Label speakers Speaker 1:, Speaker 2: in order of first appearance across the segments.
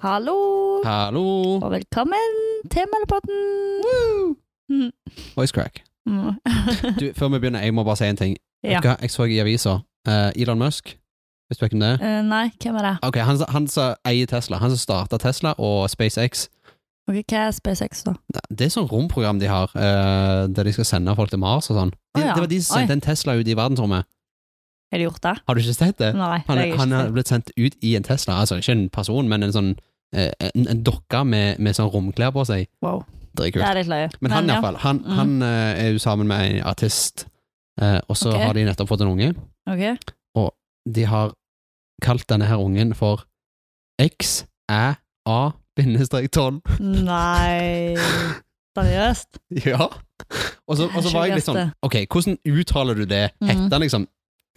Speaker 1: Hallo,
Speaker 2: Hallo!
Speaker 1: og velkommen til Meldepotten! Mm.
Speaker 2: Voice crack.
Speaker 1: Mm.
Speaker 2: Du, før vi begynner, jeg må bare si en ting. Vet
Speaker 1: Ja.
Speaker 2: du hva? Jeg så i avisa eh, Elon Musk. Vet du hvem det er?
Speaker 1: Eh, nei, hvem er det?
Speaker 2: Ok, Han som- han som eier Tesla. Han som starta Tesla og SpaceX.
Speaker 1: Ok, Hva er SpaceX, da?
Speaker 2: Nei, Det er sånn romprogram de har, eh, der de skal sende folk til Mars og sånn. De,
Speaker 1: Å ja.
Speaker 2: Det var de som sendte en Tesla ut i verdensrommet.
Speaker 1: Har de gjort det?
Speaker 2: Har du ikke sett det?
Speaker 1: Nei,
Speaker 2: Eh,
Speaker 1: Mm, det har
Speaker 2: Han,
Speaker 1: jeg
Speaker 2: han
Speaker 1: ikke
Speaker 2: har blitt sendt ut i en Tesla. Altså ikke en person, men en sånn eh, en, en dokke med, med sånn romklær på seg.
Speaker 1: sett. Wow.
Speaker 2: Det er kult.
Speaker 1: Det er litt løye.
Speaker 2: Men han, i
Speaker 1: ja.
Speaker 2: hvert fall, han,
Speaker 1: Mm.
Speaker 2: han eh, er jo sammen med en artist, eh, og så
Speaker 1: Ok.
Speaker 2: har de nettopp fått en unge.
Speaker 1: Ok.
Speaker 2: De har kalt denne her ungen for XÆA-12.
Speaker 1: Nei Seriøst?
Speaker 2: Ja. Og så, og så var jeg litt sånn, ok, hvordan uttaler du det?
Speaker 1: Mm.
Speaker 2: Heter han liksom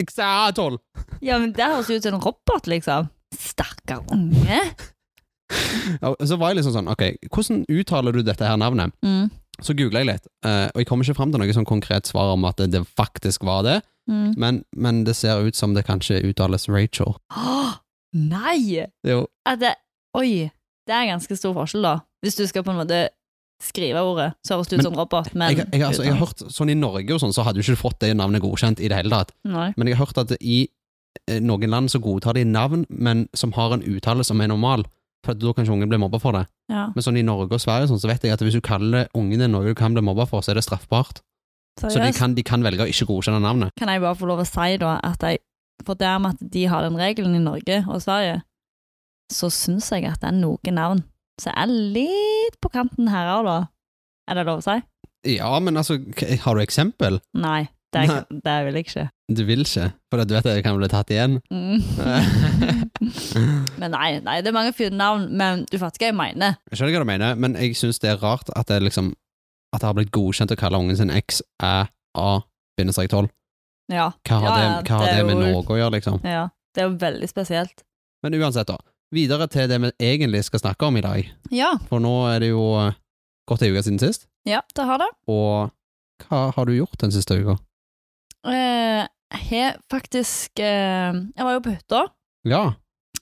Speaker 2: XÆA-12?
Speaker 1: Ja, men det høres jo ut som en robot, liksom. Stakkar unge.
Speaker 2: Og så var jeg liksom sånn, ok, hvordan uttaler du dette her navnet?
Speaker 1: Mm.
Speaker 2: Så googlet jeg litt, eh, og jeg kommer ikke frem til noe sånn konkret svar om at det, det faktisk var det,
Speaker 1: Mm.
Speaker 2: men, men det ser ut som det kanskje uttales Rachel.
Speaker 1: Åh, nei!
Speaker 2: Jo,
Speaker 1: At det, oi, det er ganske stor forskjell, da. Hvis du skal på en måte skrive ordet, så høres det ut
Speaker 2: Men-
Speaker 1: som robot, men
Speaker 2: jeg, jeg, altså, jeg har hørt, sånn I Norge og sånn, så hadde du ikke fått det navnet godkjent i det hele tatt.
Speaker 1: Nei.
Speaker 2: Men jeg har hørt at i eh, noen land så godtar de navn, men som har en uttale som er normal. For at da kan ikke ungen bli mobba for det.
Speaker 1: Ja,
Speaker 2: Men sånn i Norge og Sverige og sånn, så vet jeg at hvis du kaller ungen din noe du kan bli mobba for, så er det straffbart. Så de
Speaker 1: seriøst.
Speaker 2: kan, de kan velge å ikke godkjenne navnet.
Speaker 1: Kan jeg bare få lov å si da at jeg, for det med at de har den regelen i Norge og Sverige, så syns jeg at det er noen navn som er litt på kanten her òg, da. Er det lov å si?
Speaker 2: Ja, men altså, k- har du eksempel?
Speaker 1: Nei, det, er- det vil jeg ikke.
Speaker 2: Du vil ikke, for at du vet at det kan bli tatt igjen.
Speaker 1: Mm. men nei, nei, det er mange fine navn, men du fatter hva jeg mener.
Speaker 2: Jeg skjønner hva du mener, men jeg syns det er rart at det liksom At det har blitt godkjent å kalle ungen sin X, Æ, A-12.
Speaker 1: Ja,
Speaker 2: Hva har,
Speaker 1: Ja,
Speaker 2: det,
Speaker 1: ja,
Speaker 2: hva har
Speaker 1: det
Speaker 2: det,
Speaker 1: er
Speaker 2: med
Speaker 1: jo-
Speaker 2: Norge å gjøre, liksom?
Speaker 1: ja. Det er jo veldig spesielt.
Speaker 2: Men uansett, da. Videre til det vi egentlig skal snakke om i dag.
Speaker 1: Ja,
Speaker 2: For nå er det jo eh, gått ei uke siden sist,
Speaker 1: ja det har det.
Speaker 2: og hva har du gjort den siste uka?
Speaker 1: Eh, Jeg har faktisk eh, Jeg var jo på hytta.
Speaker 2: Ja,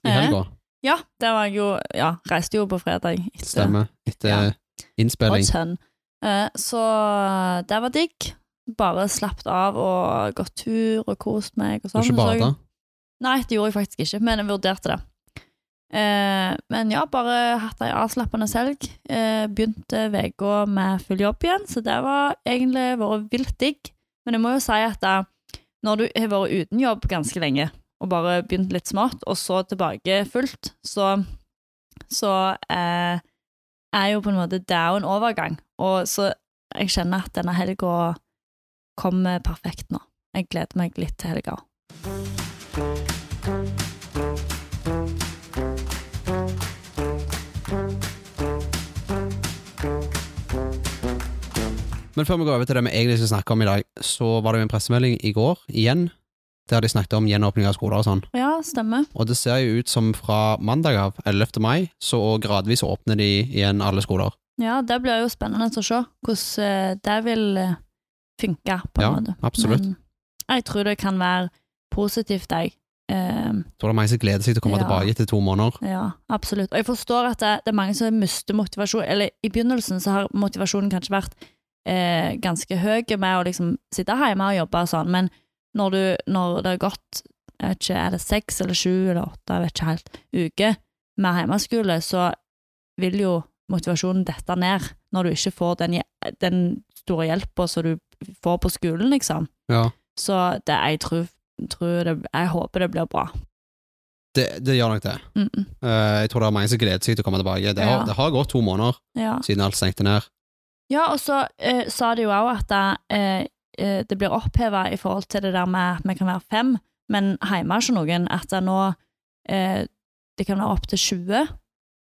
Speaker 2: i
Speaker 1: Eh,
Speaker 2: helga.
Speaker 1: Ja, det var jeg jo Ja, reiste jo på fredag. etter-
Speaker 2: Stemmer. Etter
Speaker 1: Ja. Og
Speaker 2: innspilling.
Speaker 1: tønn. Eh, så det var digg. Bare slappet av og gått tur og kost meg og
Speaker 2: Du
Speaker 1: sånn.
Speaker 2: ikke
Speaker 1: Så jeg-
Speaker 2: bada?
Speaker 1: Nei, det gjorde jeg faktisk ikke, men jeg vurderte det. Eh, men ja, bare hatt ei avslappende helg. Eh, begynte uka med full jobb igjen, så det var egentlig vært vilt digg. Men jeg må jo si at eh, når du har vært uten jobb ganske lenge, og bare begynt litt smått, og så tilbake fullt, så, så eh, er jo på en måte det er jo en overgang. Og så jeg kjenner at denne helga kommer perfekt nå. Jeg gleder meg litt til helga.
Speaker 2: Men før vi går over til det vi egentlig skal snakke om i dag, så var det jo en pressemelding i går, igjen, der de snakket om gjenåpning av skoler og sånn.
Speaker 1: Ja, stemmer.
Speaker 2: Og det ser jo ut som fra mandag av, 11. mai, så gradvis åpner de igjen alle skoler.
Speaker 1: Ja, det blir jo spennende å se hvordan eh, det vil eh, funke, på en
Speaker 2: Ja,
Speaker 1: måte.
Speaker 2: absolutt.
Speaker 1: Men jeg tror det kan være positivt, jeg. Eh,
Speaker 2: Så det er mange som gleder seg til å komme
Speaker 1: Ja.
Speaker 2: tilbake etter to måneder.
Speaker 1: ja, absolutt. Og jeg forstår at det, det er mange som mister motivasjon, eller i begynnelsen så har motivasjonen kanskje vært eh, ganske høy med å liksom sitte hjemme og jobbe og sånn, men når, du, når det har gått, jeg vet ikke, er det seks eller sju eller åtte, jeg vet ikke helt, uke med hjemmeskole, så vil jo motivasjonen dette ned når du ikke får den, hje- den store hjelpen som du får på skolen, liksom.
Speaker 2: Ja.
Speaker 1: Så det, jeg tror, tror det, jeg håper det blir bra.
Speaker 2: Det, det gjør nok det.
Speaker 1: Mm -mm.
Speaker 2: Eh, jeg tror det er mange som gleder seg til å komme tilbake. Det har,
Speaker 1: Ja.
Speaker 2: det har gått to måneder
Speaker 1: Ja.
Speaker 2: siden alt stengte ned.
Speaker 1: Ja, og så eh, sa de jo òg at eh, eh, det blir oppheva i forhold til det der med at vi kan være fem, men hjemme er ikke noen. At det nå eh, det kan være opptil 20.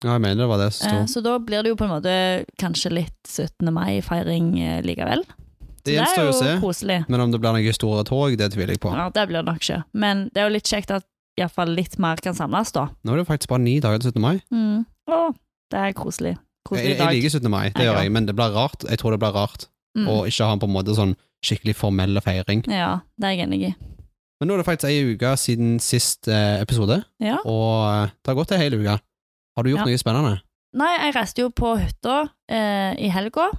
Speaker 2: Ja, jeg mener det var det som
Speaker 1: Eh,
Speaker 2: sto.
Speaker 1: så da blir det jo på en måte kanskje litt 17. mai-feiring eh, likevel. Så
Speaker 2: det gjenstår jo å se,
Speaker 1: koselig.
Speaker 2: men om det blir noen store tog, det tviler jeg på.
Speaker 1: Ja, det blir det nok ikke. Men det er jo litt kjekt at iallfall litt mer kan samles, da.
Speaker 2: Nå er det jo faktisk bare ni dager til 17. mai.
Speaker 1: Mm. Å, det er koselig.
Speaker 2: Jeg,
Speaker 1: Koselig
Speaker 2: jeg
Speaker 1: dag.
Speaker 2: liker 17. mai, det
Speaker 1: Jeg
Speaker 2: gjør
Speaker 1: òg.
Speaker 2: jeg, men det blir rart. Jeg tror det blir rart
Speaker 1: Mm.
Speaker 2: å ikke ha en på en måte sånn skikkelig formell feiring.
Speaker 1: Ja, det er jeg enig i.
Speaker 2: Men nå er det faktisk ei uke siden sist eh, episode,
Speaker 1: Ja.
Speaker 2: og eh, det har gått ei hel uke. Har du
Speaker 1: Ja.
Speaker 2: gjort noe spennende?
Speaker 1: Nei, jeg reiste jo på hytta eh, i helga,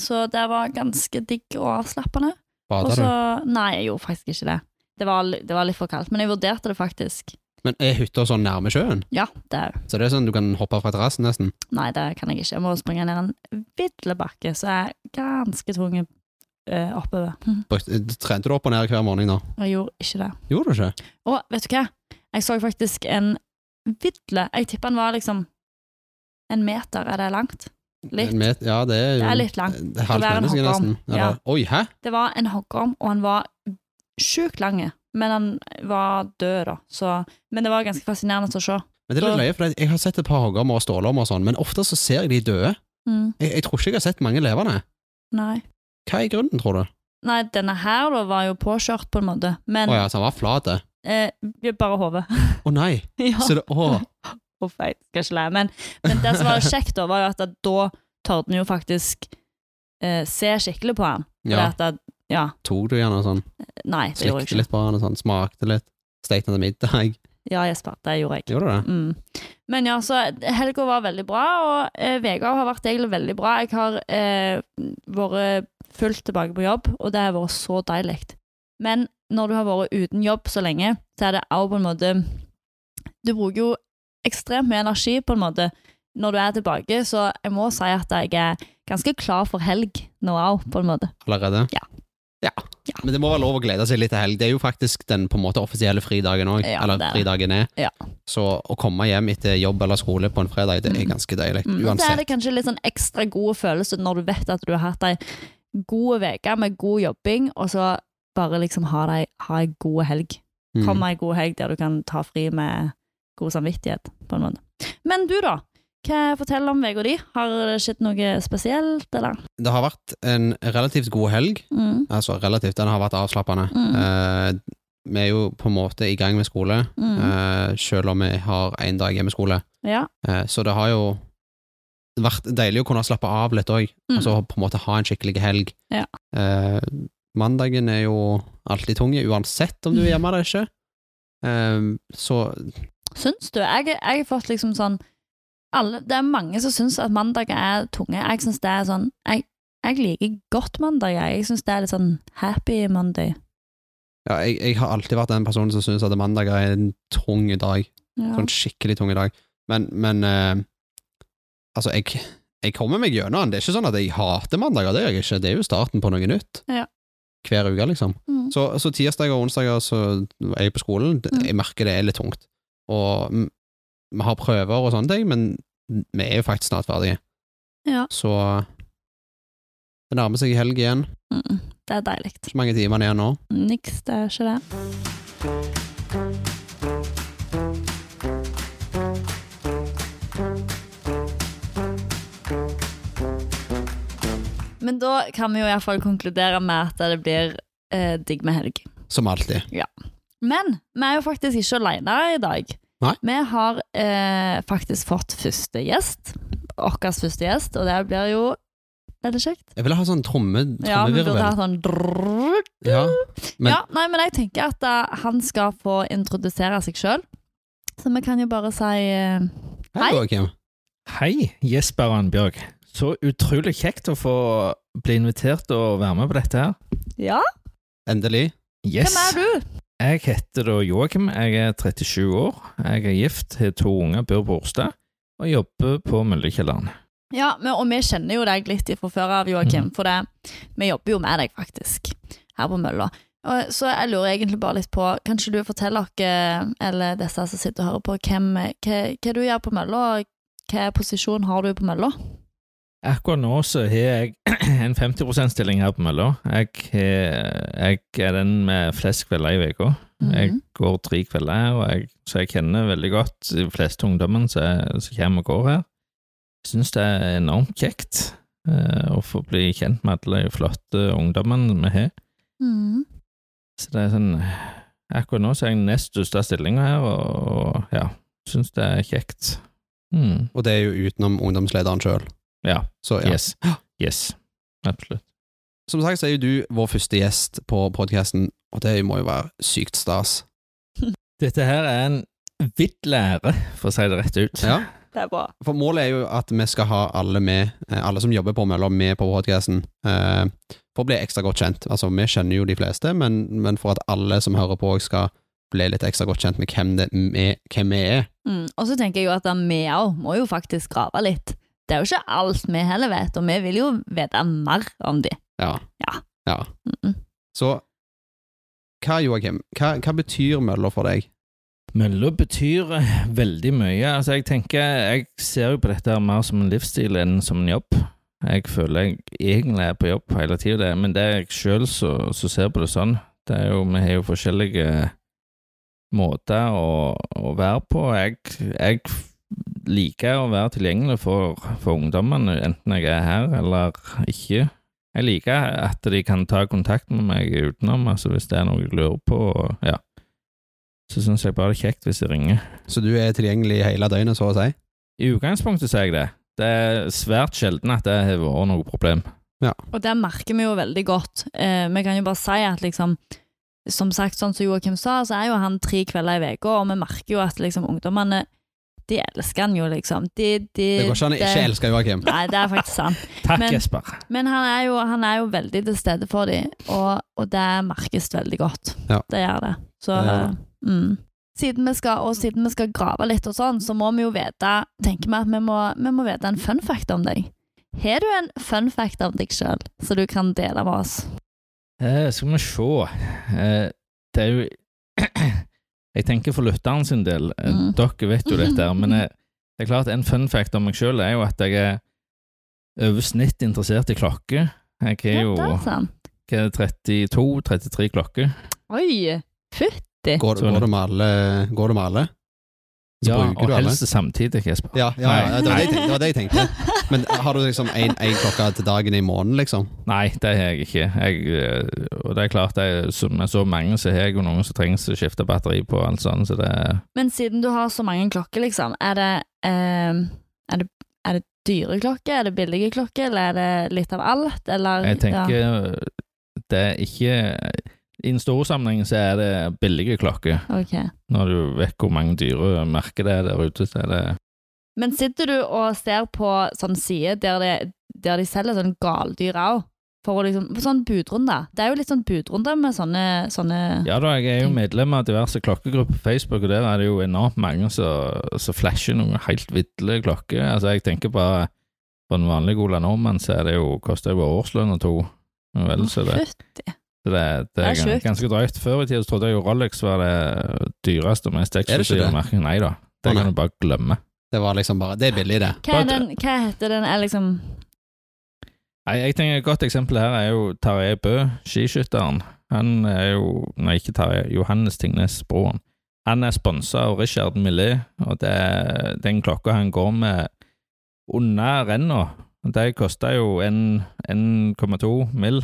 Speaker 1: så det var ganske digg og avslappende. Og
Speaker 2: Bader du?
Speaker 1: så Nei, jeg gjorde faktisk ikke det. Det var, li- det var litt for kaldt, men jeg vurderte det faktisk.
Speaker 2: Men er hytta sånn nærme sjøen?
Speaker 1: Ja, det er
Speaker 2: Så det er sånn du kan hoppe fra terrassen nesten?
Speaker 1: Nei, det kan jeg ikke. Jeg må springe ned en vidle bakke, så jeg er ganske tung eh, oppover.
Speaker 2: Brukte- eh, Trente du opp og ned hver morgen da?
Speaker 1: Og jeg gjorde ikke det.
Speaker 2: Gjorde du ikke?
Speaker 1: Og vet du hva? Jeg så faktisk en vidle. Jeg tipper den var liksom en meter. Er det langt? Litt.
Speaker 2: En met- ja, det er jo
Speaker 1: Det er litt langt.
Speaker 2: Det er halvt
Speaker 1: Det er en
Speaker 2: menneske
Speaker 1: hoppbaum.
Speaker 2: nesten. Eller,
Speaker 1: Ja.
Speaker 2: Oi, hæ?
Speaker 1: Det var en hoggorm, og han var sjukt lang, men han var død, da. Så, men det var ganske fascinerende å se.
Speaker 2: Men det er litt
Speaker 1: Så-
Speaker 2: løye, for jeg har sett et par hoggormer og stålormer og sånn, men ofte så ser jeg de døde.
Speaker 1: Mm,
Speaker 2: Jeg, jeg tror ikke jeg har sett mange levende.
Speaker 1: nei.
Speaker 2: Hva er grunnen, tror du?
Speaker 1: nei, denne her da var jo påkjørt, på en måte,
Speaker 2: Å
Speaker 1: men
Speaker 2: ja, så han var flat. det.
Speaker 1: eh, bare hodet.
Speaker 2: Å nei!
Speaker 1: ja,
Speaker 2: Så det, å,
Speaker 1: uff, jeg skal ikke le. Men, men det som var kjekt, da, var jo at da torde en jo faktisk eh, se skikkelig på han. For
Speaker 2: ja,
Speaker 1: at det- ja,
Speaker 2: tok du gjerne og sånn.
Speaker 1: nei, det gjorde jeg
Speaker 2: Slikte
Speaker 1: ikke.
Speaker 2: litt på han og sånn, smakte litt. Stekte han til middag.
Speaker 1: Ja, Jesper, det gjorde jeg.
Speaker 2: Gjorde du det?
Speaker 1: Mm. Men ja, så helga var veldig bra, og eh, Vegard har vært egentlig veldig bra. Jeg har eh, vært fullt tilbake på jobb, og det har vært så deilig. Men når du har vært uten jobb så lenge, så er det også på en måte Du bruker jo ekstremt mye energi på en måte når du er tilbake, så jeg må si at jeg er ganske klar for helg nå òg, på en måte.
Speaker 2: Allerede?
Speaker 1: Ja.
Speaker 2: Ja.
Speaker 1: Ja.
Speaker 2: Men det må være lov å glede seg litt til helg. Det er jo faktisk den på en måte offisielle fridagen òg.
Speaker 1: Ja, det
Speaker 2: eller
Speaker 1: er det.
Speaker 2: fridagen er.
Speaker 1: Ja.
Speaker 2: Så å komme hjem etter jobb eller skole på en fredag, det er
Speaker 1: Mm.
Speaker 2: ganske deilig.
Speaker 1: Mm. Og så er
Speaker 2: Uansett.
Speaker 1: det kanskje litt sånn ekstra god følelse når du vet at du har hatt ei god uke med god jobbing, og så bare liksom ha deg ha ei god helg.
Speaker 2: Mm.
Speaker 1: Kom ei god helg der du kan ta fri med god samvittighet, på en måte. Men du, da? Hva forteller om uka di? Har det skjedd noe spesielt, eller?
Speaker 2: Mm. Det har vært en relativt god helg.
Speaker 1: Mm,
Speaker 2: Altså relativt, den har vært avslappende.
Speaker 1: Mm.
Speaker 2: Eh, vi er jo på en måte i gang med skole,
Speaker 1: mm.
Speaker 2: eh, selv om vi har én dag hjemmeskole.
Speaker 1: Ja.
Speaker 2: Eh, så det har jo vært deilig å kunne slappe av litt òg,
Speaker 1: Mm.
Speaker 2: altså på en måte ha en skikkelig helg.
Speaker 1: Ja.
Speaker 2: Eh, mandagen er jo alltid tung, uansett om du er hjemme eller ikke. Eh, så
Speaker 1: Syns du? Jeg, jeg har fått liksom sånn alle, Det er mange som syns at mandager er tunge. Jeg syns det er sånn Jeg, jeg liker godt mandag. Jeg, jeg syns det er litt sånn happy Monday.
Speaker 2: ja, jeg, jeg har alltid vært den personen som syns at mandag er en tung dag.
Speaker 1: Ja.
Speaker 2: Sånn skikkelig tung dag. Men, men eh, Altså, jeg, jeg kommer meg gjennom den. Det er ikke sånn at jeg hater mandager, det gjør jeg ikke. Det er jo starten på noe nytt.
Speaker 1: Ja.
Speaker 2: Hver uke, liksom.
Speaker 1: Mm.
Speaker 2: Så, så tirsdager og onsdager så er jeg på skolen. Det-
Speaker 1: Mm.
Speaker 2: Jeg merker det er litt tungt. Og mm, vi har prøver og sånne ting, men vi er jo faktisk snart ferdige.
Speaker 1: Ja.
Speaker 2: Så det nærmer seg helg igjen.
Speaker 1: Mm. Det er deilig.
Speaker 2: Ikke mange timene igjen nå.
Speaker 1: Niks, det er ikke det. Men da kan vi jo iallfall konkludere med at det blir eh, digg med helg.
Speaker 2: Som alltid.
Speaker 1: Men vi er jo faktisk ikke alene i dag.
Speaker 2: Nei.
Speaker 1: Vi har eh, faktisk fått første gjest. Vår første gjest, og det blir jo veldig kjekt.
Speaker 2: Jeg ville ha sånn tromme,
Speaker 1: Ja, vi
Speaker 2: trommevirvel.
Speaker 1: burde ha sånn drrrr,
Speaker 2: Ja, Men-
Speaker 1: ja, nei, men jeg tenker at eh, han skal få introdusere seg sjøl. Så vi kan jo bare si eh,
Speaker 2: Hei,
Speaker 1: Hei.
Speaker 2: Joakim.
Speaker 3: Hei, Jesper Arnbjørg. Så utrolig kjekt å få bli invitert og være med på dette her.
Speaker 1: ja,
Speaker 2: Endelig.
Speaker 3: Yes.
Speaker 1: hvem er du?
Speaker 3: Jeg heter da Joakim, jeg er 37 år. Jeg er gift, har to unger, bor på Orstad og jobber på Møllekjelleren.
Speaker 1: Ja, men, og vi kjenner jo deg litt fra før av, Joakim, for det, vi jobber jo med deg faktisk her på mølla. Og, så jeg lurer egentlig bare litt på, kan ikke du fortelle dere, eller disse som sitter og hører på, hvem, hva, hva du gjør på mølla, og hva posisjon har du på mølla?
Speaker 3: Akkurat nå så har jeg en 50 %-stilling her på Mølla. Jeg, har- jeg er den med flest kvelder i uka. Jeg
Speaker 1: Mhm.
Speaker 3: går tre kvelder, og jeg, så jeg kjenner veldig godt de fleste ungdommene som som kommer og går her. Jeg synes det er enormt kjekt eh, å få bli kjent med alle de flotte ungdommene vi har.
Speaker 1: Mhm.
Speaker 3: Så det er sånn Akkurat nå så er jeg nest største stillinga her, og, og ja, synes det er kjekt. Mm,
Speaker 2: Og det er jo utenom ungdomslederen sjøl.
Speaker 3: ja,
Speaker 2: Så ja.
Speaker 3: Yes. Yes. Absolutt.
Speaker 2: Som sagt så er jo du vår første gjest på podkasten, og det må jo være sykt stas.
Speaker 3: Dette her er en vidt lære, for å si det rett ut.
Speaker 2: Ja.
Speaker 1: Det er bra.
Speaker 2: For målet er jo at vi skal ha alle med, eh, alle som jobber på mølla, med på podcasten, eh, for å bli ekstra godt kjent. Altså, vi kjenner jo de fleste, men, men for at alle som hører på, skal bli litt ekstra godt kjent med hvem, det, med, hvem vi er.
Speaker 1: Mm. Og så tenker jeg jo at vi òg må jo faktisk grave litt. Det er jo ikke alt vi heller vet, og vi vil jo vite mer om de.
Speaker 2: Ja.
Speaker 1: Ja.
Speaker 2: Ja.
Speaker 1: Mm.
Speaker 2: Så hva, Joakim, hva, hva betyr mølla for deg?
Speaker 3: Mølla betyr eh, veldig mye. Altså, jeg tenker, jeg ser jo på dette her mer som en livsstil enn som en jobb. Jeg føler jeg egentlig er på jobb hele tida, men det er jeg sjøl som ser på det sånn. Det er jo, vi har jo forskjellige måter å, å være på. Jeg, jeg liker å være tilgjengelig for, for ungdommene, enten jeg er her eller ikke. Jeg liker at de kan ta kontakt med meg utenom, altså hvis det er noe jeg lurer på. og- Ja så syns jeg bare det er kjekt hvis de ringer.
Speaker 2: Så du er tilgjengelig hele døgnet, så å si?
Speaker 3: I utgangspunktet sier jeg det. Det er svært sjelden at det har vært noe problem.
Speaker 1: Og det merker vi jo veldig godt. Eh, vi kan jo bare si at liksom Som sagt, sånn som Joakim sa, så er jo han tre kvelder i uka, og vi merker jo at liksom ungdommene De elsker han jo, liksom. De, de,
Speaker 2: Det går ikke an å
Speaker 1: eh,
Speaker 2: ikke elske Joakim.
Speaker 1: Nei, det er faktisk sant.
Speaker 3: Takk,
Speaker 1: Men-
Speaker 3: Jesper.
Speaker 1: Men han er jo, han er jo veldig til stede for dem, og, og det merkes veldig godt.
Speaker 2: Ja.
Speaker 1: Det gjør det. Så,
Speaker 2: Det gjør det.
Speaker 1: Mm. Siden vi skal, og siden vi skal grave litt og sånn, så må vi jo vite tenker vi at vi må, vi må vite en fun fact om deg. Har du en fun fact om deg sjøl, så du kan dele med oss?
Speaker 3: Eh, skal vi se. Eh, det er jo Jeg tenker for lytteren sin del, eh,
Speaker 1: Mm.
Speaker 3: dere vet jo dette, her, men eh, det er klart en fun fact om meg sjøl er jo at jeg er over snitt interessert i klokker. Jeg er jo
Speaker 1: Ja, det er sant.
Speaker 3: hva er det, 32-33 klokker.
Speaker 1: Oi! Fytti!
Speaker 2: Går,
Speaker 3: Sånn.
Speaker 2: går, det med alle, går det med alle? Så
Speaker 3: Ja,
Speaker 2: bruker
Speaker 3: og
Speaker 2: du alle?
Speaker 3: helst samtidig, Jesper.
Speaker 2: Ja, ja, ja det, var det, jeg
Speaker 1: Nei.
Speaker 2: tenkte, det var det jeg tenkte. Men har du liksom én klokke til dagen i måneden, liksom?
Speaker 3: Nei, det har jeg ikke. Jeg, eh, og det er klart, det er, som med så mange så har jeg jo noen som trengs å skifte batteri på, og alt sånt, så det er
Speaker 1: Men siden du har så mange klokker, liksom, er det, eh, er det, er det dyre klokker, er det billige klokker, eller er det litt av alt, eller
Speaker 3: Jeg tenker
Speaker 1: ja.
Speaker 3: det er ikke I en stor sammenheng så er det billige klokker.
Speaker 1: Ok.
Speaker 3: Når du vet hvor mange dyre merker det er der ute, så er det
Speaker 1: Men sitter du og ser på sånn side der, det, der de selger sånn galdyr òg? For å liksom, for sånn budrunder. Det er jo litt sånn budrunder med sånne, sånne
Speaker 3: Ja da, jeg er jo medlem av diverse klokkegrupper på Facebook, og der er det jo enormt mange som som flasher noen helt ville klokker. Altså, jeg tenker bare på en vanlig Ola Nordmann, så er det jo, koster det jo årslønn og to. Og Vel, så det,
Speaker 1: Fytti.
Speaker 3: Så det, det er,
Speaker 1: Det er sjukt.
Speaker 3: ganske drøyt. Før i tida så trodde jeg jo Rolex var det dyreste og mest
Speaker 2: ikke
Speaker 3: eksklusive
Speaker 2: det?
Speaker 3: merket. Nei da, det
Speaker 2: Å, nei.
Speaker 3: kan du bare glemme.
Speaker 2: Det var liksom bare Det er billig, det.
Speaker 1: Hva, er
Speaker 3: Bare-
Speaker 1: den, hva heter den? Er liksom
Speaker 3: Nei, jeg tenker Et godt eksempel her er jo Tarjei Bø, skiskytteren. Han er jo Nei, ikke Tarjei. Johannes Tingnes Broen. Han er sponsa av Richard Millet, og det er den klokka han går med under renna. De kosta jo en- 1,2 mill.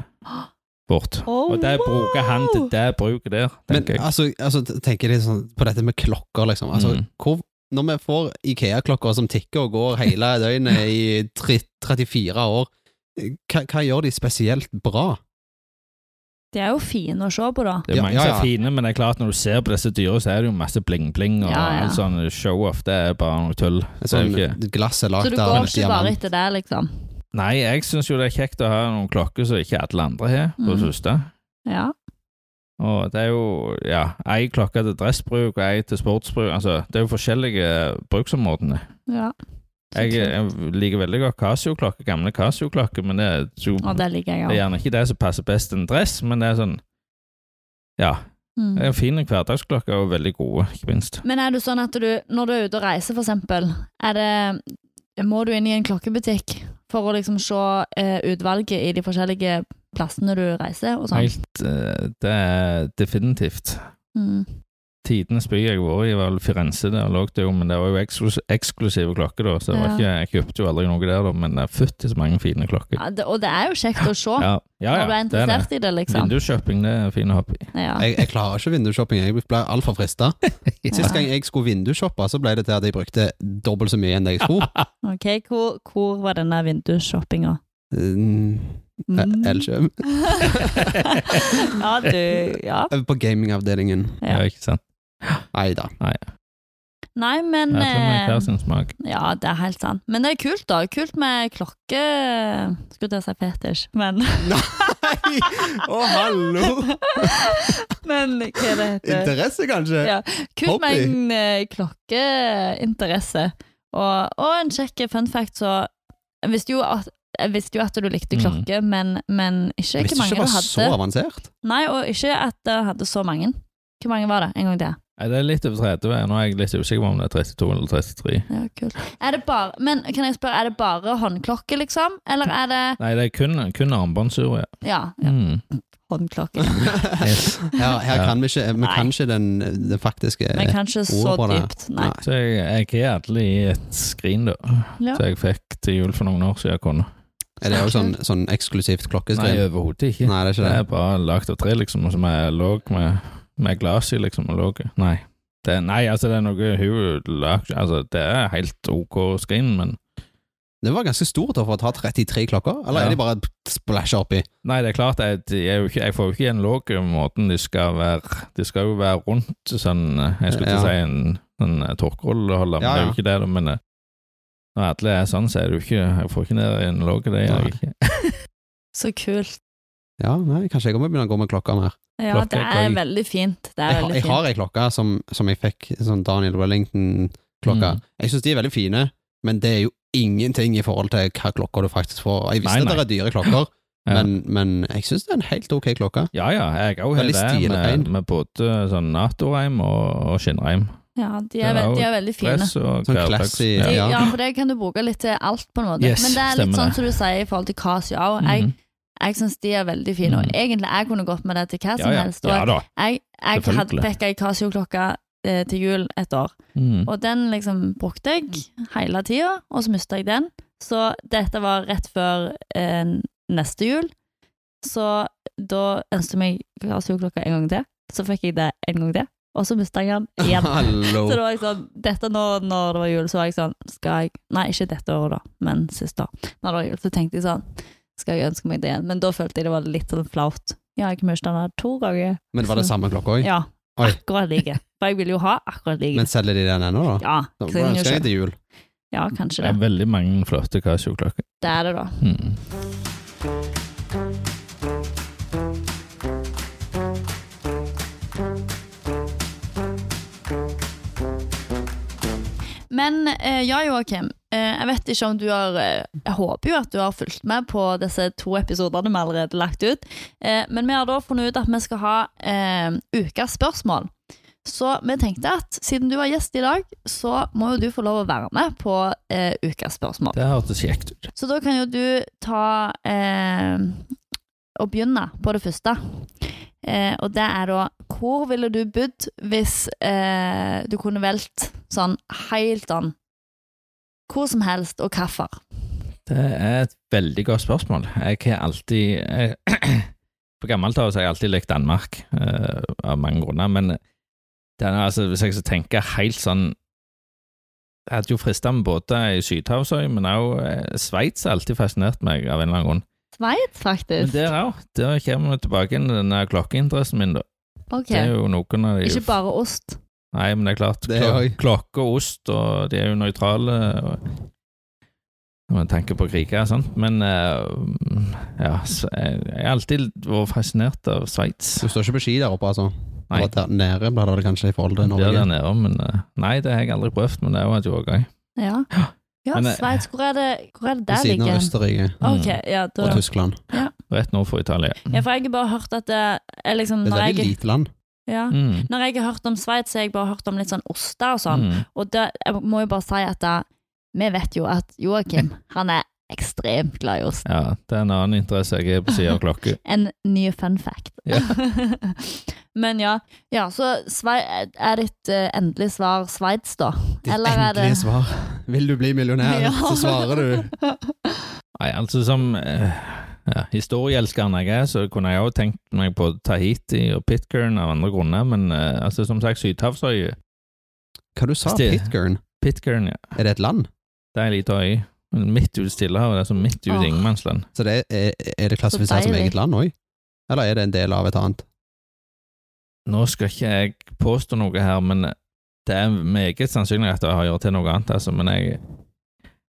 Speaker 3: bort.
Speaker 1: oh,
Speaker 3: Og det bruker han til
Speaker 1: det.
Speaker 3: det bruket der,
Speaker 2: Men
Speaker 3: tenker jeg.
Speaker 2: altså, altså tenker litt sånn på dette med klokker, liksom. Altså,
Speaker 3: Mm.
Speaker 2: hvor, når vi får Ikea-klokker som tikker og går hele døgnet i tre, 34 år, hva, hva gjør de spesielt bra?
Speaker 1: De er jo fine å se på, da.
Speaker 3: Det er
Speaker 2: Ja,
Speaker 3: mange
Speaker 2: ja,
Speaker 3: som er
Speaker 2: ja.
Speaker 3: fine, men det er klart når du ser på disse dyra, så er det jo masse bling-bling og
Speaker 1: Ja, ja.
Speaker 3: alt sånn show-off. Det er bare noe tull.
Speaker 2: Et
Speaker 3: Det er jo
Speaker 2: Sånn glass er
Speaker 1: Så
Speaker 2: lagd
Speaker 1: du
Speaker 2: av
Speaker 1: går
Speaker 2: en
Speaker 1: ikke bare
Speaker 2: diamant.
Speaker 1: etter det, liksom.
Speaker 3: Nei, jeg syns jo det er kjekt å ha noen klokker som ikke alle andre har, på
Speaker 1: Mhm.
Speaker 3: det første.
Speaker 1: Ja.
Speaker 3: Og det er jo ja, ei klokke til dressbruk og ei til sportsbruk. Altså, det er jo forskjellige bruksområdene.
Speaker 1: ja. Så
Speaker 3: Jeg,
Speaker 1: kult.
Speaker 3: jeg liker veldig godt Casio-klokker, gamle Casio-klokker, men det er jo
Speaker 1: Og det liker
Speaker 3: det
Speaker 1: jeg
Speaker 3: er
Speaker 1: òg.
Speaker 3: gjerne ikke det som passer best en dress, men det er sånn Ja. Det
Speaker 1: Mm.
Speaker 3: er en fin hverdagsklokke og veldig gode, ikke minst.
Speaker 1: Men er det sånn at du, når du er ute og reiser, for eksempel, er det Må du inn i en klokkebutikk for å liksom se eh, utvalget i de forskjellige plassene du reiser og sånn?
Speaker 3: Helt eh, Det er definitivt.
Speaker 1: Mm.
Speaker 3: Tidenes by jeg har vært i, var Firenze. Der lå det jo, men det var jo eksklus eksklusive klokker, da, så det var
Speaker 1: Ja.
Speaker 3: ikke, jeg kjøpte jo aldri noe der, da, men det er fytti så mange fine klokker.
Speaker 1: Ja, det, og det er jo kjekt å se
Speaker 3: Ja, ja,
Speaker 1: når du
Speaker 3: ja
Speaker 1: er
Speaker 3: det er det.
Speaker 1: interessert i det, liksom.
Speaker 3: Vindusshopping, det er fine hobby.
Speaker 1: Ja.
Speaker 2: Jeg, jeg klarer ikke vindusshopping, jeg blir altfor frista. Sist gang jeg skulle vindusshoppe, så ble det til at jeg brukte dobbelt så mye enn det jeg skulle.
Speaker 1: Ok, hvor, hvor var denne vindusshoppinga?
Speaker 2: Mm,
Speaker 1: Mm.
Speaker 2: Elkjøp.
Speaker 1: ja, du Ja.
Speaker 2: På gamingavdelingen.
Speaker 1: Ja.
Speaker 3: Ja, ikke sant?
Speaker 2: Nei da.
Speaker 3: Nei.
Speaker 1: Nei, men
Speaker 3: Alle med hver
Speaker 1: eh,
Speaker 3: sin smak.
Speaker 1: Ja, det er helt sant. Men det er kult, da. Kult med klokke Skulle til å si fetisj, men,
Speaker 2: Nei! Å, hallo!
Speaker 1: men hva det heter
Speaker 2: Interesse, kanskje?
Speaker 1: Ja. Kult med
Speaker 2: Hobby.
Speaker 1: en eh, klokkeinteresse. Og, og en kjekk fun fact, så Jeg visste jo at jeg visste jo at du likte
Speaker 3: Mm.
Speaker 1: klokke, men, men ikke hvor
Speaker 2: Visste
Speaker 1: mange
Speaker 2: ikke det
Speaker 1: du
Speaker 2: var så
Speaker 1: hadde.
Speaker 2: avansert.
Speaker 1: Nei, og ikke at jeg hadde så mange. Hvor mange var det? En gang til.
Speaker 3: Nei, det er litt over 30. Nå er jeg litt usikker på om det er 32 eller 33.
Speaker 1: Ja, kult. Er det bare, men kan jeg spørre, er det bare håndklokke, liksom? Eller er det
Speaker 3: Nei, det er kun, kun armbåndsur, ja.
Speaker 1: Ja, ja
Speaker 3: Mm.
Speaker 1: håndklokke.
Speaker 3: Yes.
Speaker 2: Her, her
Speaker 3: Ja.
Speaker 2: kan vi ikke, vi
Speaker 1: Nei.
Speaker 2: kan ikke den, den faktiske eh,
Speaker 1: Men kanskje så
Speaker 2: ord på det.
Speaker 1: dypt. Nei.
Speaker 3: Så jeg, jeg er alle i et skrin, da.
Speaker 1: Ja.
Speaker 3: Så jeg fikk til jul for noen år siden jeg kunne.
Speaker 2: Er det jo sånn, sånn eksklusivt
Speaker 3: Nei,
Speaker 2: klokkeskrin?
Speaker 3: overhodet ikke.
Speaker 2: Nei, det er ikke
Speaker 3: Det
Speaker 2: det.
Speaker 3: er bare lagd av tre, liksom, og som er låg med, med glass i, liksom, og låg Nei. Det, nei, altså, det er noe hun lagde Altså, det er helt ok skrin, men
Speaker 2: Det var ganske stort da, for å ta 33 klokker, eller
Speaker 3: Ja.
Speaker 2: er de bare splæsja oppi?
Speaker 3: Nei, det er klart, jeg, jeg, er jo ikke, jeg får jo ikke igjen låg måten de skal være De skal jo være rundt sånn Jeg skulle
Speaker 2: Ja.
Speaker 3: til å si en, en tørkerolleholder,
Speaker 2: Ja,
Speaker 3: men det
Speaker 2: ja.
Speaker 3: er jo ikke det, da. Men eh, når alle er sånn, så er det jo ikke Jeg får ikke ned i en låg, det gjør jeg ikke.
Speaker 1: Så kult.
Speaker 2: Ja, nei, kanskje jeg må begynne å gå med klokka mer.
Speaker 1: Ja,
Speaker 3: Klokke,
Speaker 1: det er
Speaker 3: klokke.
Speaker 1: veldig fint. Det er
Speaker 2: Jeg, har-
Speaker 1: veldig
Speaker 2: jeg har
Speaker 1: fint.
Speaker 2: ei klokke som, som jeg fikk, sånn Daniel Wellington-klokka.
Speaker 3: Mm.
Speaker 2: Jeg syns de er veldig fine, men det er jo ingenting i forhold til hva klokka du faktisk får. Jeg visste
Speaker 3: Nei, nei.
Speaker 2: at det er dyre klokker,
Speaker 3: Ja.
Speaker 2: men, men jeg syns det er en helt ok klokke.
Speaker 3: Ja ja, jeg òg har
Speaker 2: Veldig
Speaker 3: det, med,
Speaker 2: stilrein.
Speaker 3: med både sånn Nato-reim og, og skinnreim.
Speaker 1: Ja, de
Speaker 3: Det
Speaker 1: er,
Speaker 3: er
Speaker 1: veld-
Speaker 3: jo
Speaker 1: de er veldig fine.
Speaker 3: Dress og
Speaker 2: Sånn
Speaker 3: hverdags-
Speaker 2: classy,
Speaker 1: De,
Speaker 2: ja.
Speaker 1: ja, for det kan du bruke litt til alt, på en måte.
Speaker 3: Yes,
Speaker 1: Men det er litt
Speaker 3: stemmer
Speaker 1: sånn
Speaker 3: det.
Speaker 1: som du sier i forhold til Casio òg. Jeg,
Speaker 3: Mhm.
Speaker 1: jeg syns de er veldig fine, og
Speaker 3: Mm.
Speaker 1: egentlig jeg kunne gått med det til hva som
Speaker 3: ja, ja.
Speaker 1: helst.
Speaker 3: Ja
Speaker 1: Og
Speaker 3: da.
Speaker 1: jeg jeg hadde
Speaker 3: Selvfølgelig.
Speaker 1: fikk ei Casio-klokke eh, til jul et år,
Speaker 3: Mm.
Speaker 1: og den liksom brukte jeg hele tida, og så mista jeg den. Så dette var rett før eh, neste jul. Så da ønsket jeg meg Casio-klokka en gang til. Så fikk jeg det en gang til, og så mista jeg den igjen.
Speaker 2: Hallo!
Speaker 1: Så da var jeg sånn, dette nå, når det var jul, så var jeg sånn skal jeg, Nei, ikke dette året, da, men siste år. Når det var jul, så tenkte jeg sånn Skal jeg ønske meg det igjen? Men da følte jeg det var litt sånn flaut. Ja, jeg mista den her to ganger.
Speaker 2: Men var det samme klokka òg?
Speaker 1: Ja,
Speaker 2: Oi.
Speaker 1: akkurat like. For jeg ville jo ha akkurat like.
Speaker 2: Men selger de den ennå, da?
Speaker 1: ja,
Speaker 2: Da
Speaker 1: så jeg
Speaker 2: Hvordan
Speaker 1: jo
Speaker 2: skal jeg
Speaker 1: ikke-
Speaker 2: til jul?
Speaker 1: ja, kanskje
Speaker 3: Det er
Speaker 1: det.
Speaker 3: veldig mange flotte Casio-klokker.
Speaker 1: Det er det, da.
Speaker 3: Mm.
Speaker 1: Men eh, ja, Joakim. Eh, jeg vet ikke om du har eh, Jeg håper jo at du har fulgt med på disse to episodene vi allerede har lagt ut. Eh, men vi har da funnet ut at vi skal ha eh, ukas spørsmål. Så vi tenkte at siden du var gjest i dag, så må jo du få lov å være med på eh, ukas spørsmål.
Speaker 3: Det hørtes kjekt ut.
Speaker 1: Så da kan jo du ta eh, og begynne på det første. Eh, og det er da Hvor ville du bodd hvis eh, du kunne valgt sånn helt sånn Hvor som helst og hvorfor?
Speaker 3: Det er et veldig godt spørsmål. Jeg har alltid jeg, På gammelt av så har jeg alltid likt Danmark, eh, av mange grunner, men det er, altså, hvis jeg skal tenke helt sånn Jeg hadde jo frista med båter i Sydhavsøy, men også eh, Sveits har alltid fascinert meg av en eller annen grunn.
Speaker 1: Sveits,
Speaker 3: Men
Speaker 1: faktisk.
Speaker 3: der òg. Der kommer vi tilbake til denne klokkeinteressen min, da.
Speaker 1: ok,
Speaker 3: Det er jo noen av de
Speaker 1: Ikke bare ost.
Speaker 3: Nei, men det er klart.
Speaker 2: Det er
Speaker 3: klo-
Speaker 2: jeg.
Speaker 3: klokke og ost, og de er jo nøytrale. og- Når man tenker på kriger og sånt. Men eh, ja, så jeg jeg har alltid vært fascinert av Sveits.
Speaker 2: Du står ikke på ski der oppe, altså?
Speaker 3: Nei.
Speaker 2: Bare Der nede blir det vel kanskje i forhold til
Speaker 3: Det er
Speaker 2: Norge?
Speaker 3: der nede, men eh, Nei, det har jeg aldri prøvd, men det er jo et jordgøy.
Speaker 1: Ja, ja
Speaker 3: Men, eh,
Speaker 1: Sveits. Hvor er det, hvor er det
Speaker 2: Ved
Speaker 1: der
Speaker 2: siden av
Speaker 1: ligger? Ah,
Speaker 2: Østerrike
Speaker 1: Ok, ja, da,
Speaker 2: og Tyskland.
Speaker 3: Mm. Rett nord for Italia.
Speaker 1: ja, for jeg har bare hørt at det er liksom
Speaker 2: Det er
Speaker 1: når
Speaker 2: et veldig
Speaker 1: jeg,
Speaker 2: lite land.
Speaker 1: ja,
Speaker 3: Mm.
Speaker 1: når jeg har hørt om Sveits, så har jeg bare hørt om litt sånn oster og sånn.
Speaker 3: Mm.
Speaker 1: Og det, jeg må jo bare si at da, vi vet jo at Joakim, han er ekstremt glad i ost.
Speaker 3: Ja, det er en annen interesse jeg er på siden av klokke.
Speaker 1: En ny fun fact.
Speaker 3: Ja.
Speaker 1: Men ja, ja så Svei, er ditt eh, endelige svar Sveits, da?
Speaker 2: Ditt
Speaker 1: Eller er det-
Speaker 2: endelige svar. Vil du bli millionær,
Speaker 1: Ja.
Speaker 2: så svarer du
Speaker 3: Nei, altså som eh, ja, historieelskeren jeg er, så kunne jeg òg tenkt meg på Tahiti og Pitcairn av andre grunner, men eh, altså som sagt, Sydhavsøya
Speaker 2: Hva du sa
Speaker 3: Stil.
Speaker 2: Pitcairn?
Speaker 3: Pitcairn, ja.
Speaker 2: Er det et land?
Speaker 3: Det er ei lita øy. Midt ute i Stillehavet. Det er som midt ute
Speaker 1: Åh.
Speaker 3: i ingenmannsland.
Speaker 2: Så det er, er det klassifisert som
Speaker 1: deilig.
Speaker 2: eget land òg? Eller er det en del av et annet?
Speaker 3: Nå skal ikke jeg påstå noe her, men Det er meget sannsynlig at det har gjort til noe annet, altså, men jeg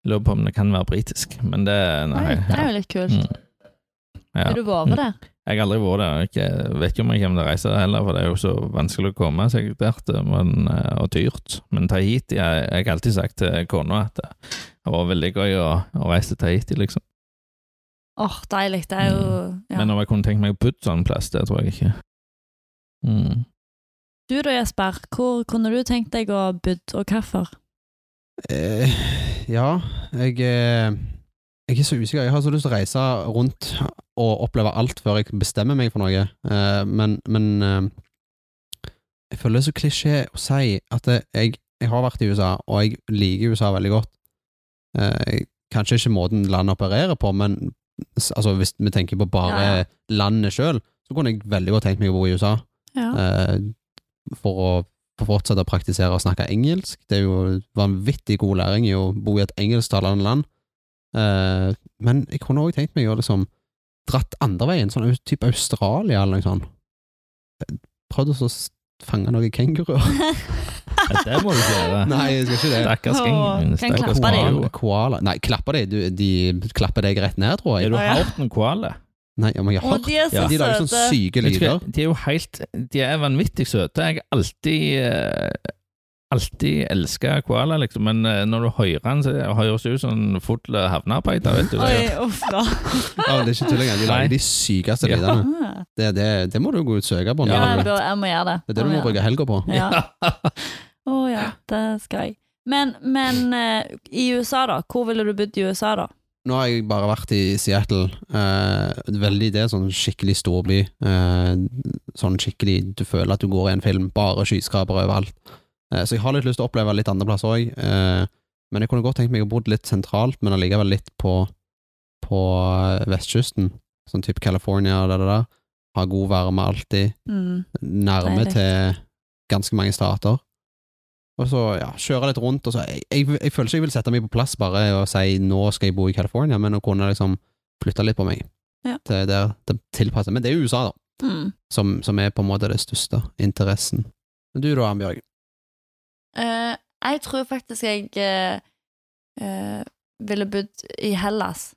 Speaker 3: lurer på om det kan være britisk. Men det Nei.
Speaker 1: Oi, det er jo litt kult.
Speaker 3: Mm. Ja.
Speaker 1: Har du
Speaker 2: Mm.
Speaker 1: vært der?
Speaker 3: Jeg har aldri vært der. og Jeg vet ikke om jeg kommer til å reise der heller, for det er jo så vanskelig å komme seg dit, men, eh, og dyrt. Men Tahiti jeg, jeg har alltid sagt til kona at det har vært veldig gøy å, å reise til Tahiti, liksom.
Speaker 1: Åh, deilig. Det er jo
Speaker 2: Mm.
Speaker 1: ja.
Speaker 3: Men om jeg kunne tenkt meg å putte sånn plass, det tror jeg ikke. Mm.
Speaker 1: Du da, Jesper, hvor kunne du tenkt deg å bodde, og hvorfor?
Speaker 2: Eh, ja, jeg, eh, jeg er så usikker. Jeg har så lyst til å reise rundt og oppleve alt før jeg bestemmer meg for noe, eh, men, men eh, jeg føler det er så klisjé å si at det- jeg, jeg har vært i USA, og jeg liker USA veldig godt. Eh, jeg- kanskje ikke måten landet opererer på, men s- altså, hvis vi tenker på bare
Speaker 1: Ja, ja.
Speaker 2: landet sjøl, så kunne jeg veldig godt tenkt meg å bo i USA
Speaker 1: Ja.
Speaker 2: eh, for å få fortsette å praktisere og snakke engelsk. Det er jo vanvittig god læring i å bo i et engelsktalende land. Eh, men jeg kunne òg tenkt meg å liksom dratt andre veien, sånn au- type Australia eller noe sånt. Prøvd å så s- fange noen kenguruer.
Speaker 3: Ja, det må du ikke gjøre.
Speaker 2: Nei, jeg skal ikke det.
Speaker 3: Stakkars
Speaker 1: Åh, kan
Speaker 3: gjengen. stakkars
Speaker 1: klappe deg.
Speaker 2: Koala.
Speaker 3: koala.
Speaker 2: koala. Nei, klapper de, du, de klapper deg rett ned, tror
Speaker 3: Er
Speaker 2: jeg.
Speaker 3: du
Speaker 1: Å, ja.
Speaker 3: hørt en koala?
Speaker 2: Nei, om jeg har
Speaker 1: Og
Speaker 2: hørt
Speaker 1: de er så
Speaker 2: De lager sånn
Speaker 1: søte.
Speaker 2: sånne syke
Speaker 3: Jeg tror-
Speaker 2: lyder.
Speaker 3: De er jo helt De er vanvittig søte. Jeg har alltid eh, Alltid elska koala, liksom, men eh, når du hører han, så høres det ut som en full havnearbeider, vet du.
Speaker 1: Oi, uff da.
Speaker 2: Ja, men det er ikke tull engang. De
Speaker 3: Nei.
Speaker 2: lager de sykeste
Speaker 3: Ja.
Speaker 2: lydene.
Speaker 1: Ah.
Speaker 2: Det, det, det må du gå ut og søke
Speaker 1: Ja,
Speaker 2: på. Når
Speaker 1: jeg,
Speaker 2: du
Speaker 1: bør, jeg må gjøre det.
Speaker 2: Det er det du må bruke helga på.
Speaker 1: Å ja. Å ja, det skal jeg. Men, men eh, i USA, da? Hvor ville du bodd i USA, da?
Speaker 2: Nå har jeg bare vært i Seattle. Eh, veldig Det er sånn skikkelig storby. Eh, sånn skikkelig Du føler at du går i en film. Bare skyskrapere overalt. Eh, så jeg har litt lyst til å oppleve litt andre plasser òg. Eh, men jeg kunne godt tenkt meg å bo litt sentralt, men allikevel litt på, på eh, vestkysten. Sånn type California og det der. Ha god varme alltid.
Speaker 1: Mm.
Speaker 2: nærme
Speaker 1: Deilig.
Speaker 2: til ganske mange stater. Og så ja, kjøre litt rundt. Og så, jeg, jeg, jeg føler ikke jeg vil sette meg på plass bare og si nå skal jeg bo i California, men å kunne liksom flytte litt på meg
Speaker 1: Ja.
Speaker 2: til der det tilpasser. Men det er USA, da,
Speaker 1: Mm.
Speaker 2: som, som er på en måte det største interessen. Men du da, Ambjørg?
Speaker 1: Eh, jeg tror faktisk jeg eh, eh, ville bodd i Hellas.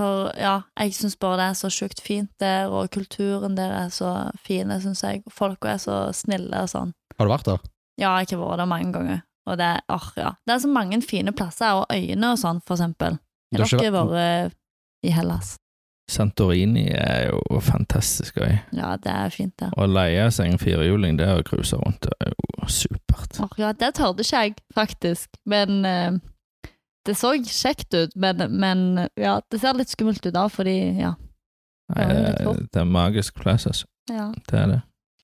Speaker 1: For ja, jeg syns bare det er så sjukt fint der, og kulturen der er så fin, syns jeg. Og Folka er så snille og sånn.
Speaker 2: Har du vært der?
Speaker 1: Ja, jeg har vært der mange ganger. Og det, er- åh, ja. det er så mange fine plasser, og øyene og sånn, for eksempel.
Speaker 2: Du
Speaker 1: Har
Speaker 2: har ikke
Speaker 1: dere vært i Hellas?
Speaker 3: Santorini er jo fantastisk gøy.
Speaker 1: Ja, det er fint, det.
Speaker 3: Å leie seg en firehjuling der og cruise rundt, det er jo supert.
Speaker 1: Åh, ja, det tørde ikke jeg, faktisk. Men eh, det så kjekt ut, men, men ja, det ser litt skummelt ut da, fordi ja.
Speaker 3: Nei,
Speaker 1: Ja, det er
Speaker 3: det, er- Eh, det er en magisk plass, altså.
Speaker 1: ja.
Speaker 3: Det er det.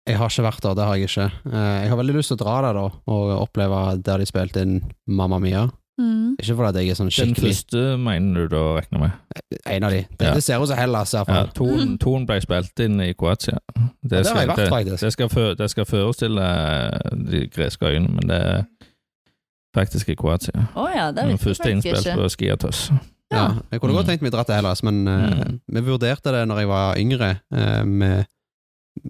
Speaker 2: Jeg har ikke vært der, det har jeg ikke. Eh, Jeg har veldig lyst til å dra der da, og oppleve der de spilte inn Mamma Mia.
Speaker 1: Mm.
Speaker 2: Ikke fordi at jeg er sånn
Speaker 3: Den
Speaker 2: skikkelig
Speaker 3: første mener du da regner med?
Speaker 2: en av de. Det,
Speaker 3: Ja.
Speaker 2: det ser ut som Hellas, altså, i hvert
Speaker 3: Ja,
Speaker 2: fall.
Speaker 3: Toen, toen ble spilt inn i Kroatia. Det,
Speaker 2: der har jeg vært, faktisk.
Speaker 3: Det skal, fø- det skal forestille eh, de greske øyene, men det er faktisk i Kroatia.
Speaker 1: Å ja, det
Speaker 3: Den
Speaker 1: visste jeg
Speaker 3: første
Speaker 1: faktisk
Speaker 3: innspilt
Speaker 1: ikke.
Speaker 3: på Skiatos.
Speaker 2: Ja.
Speaker 1: Ja.
Speaker 2: Jeg kunne godt
Speaker 3: Mm.
Speaker 2: tenkt meg å dra til Hellas, men eh,
Speaker 3: Mm.
Speaker 2: vi vurderte det når jeg var yngre, eh, med,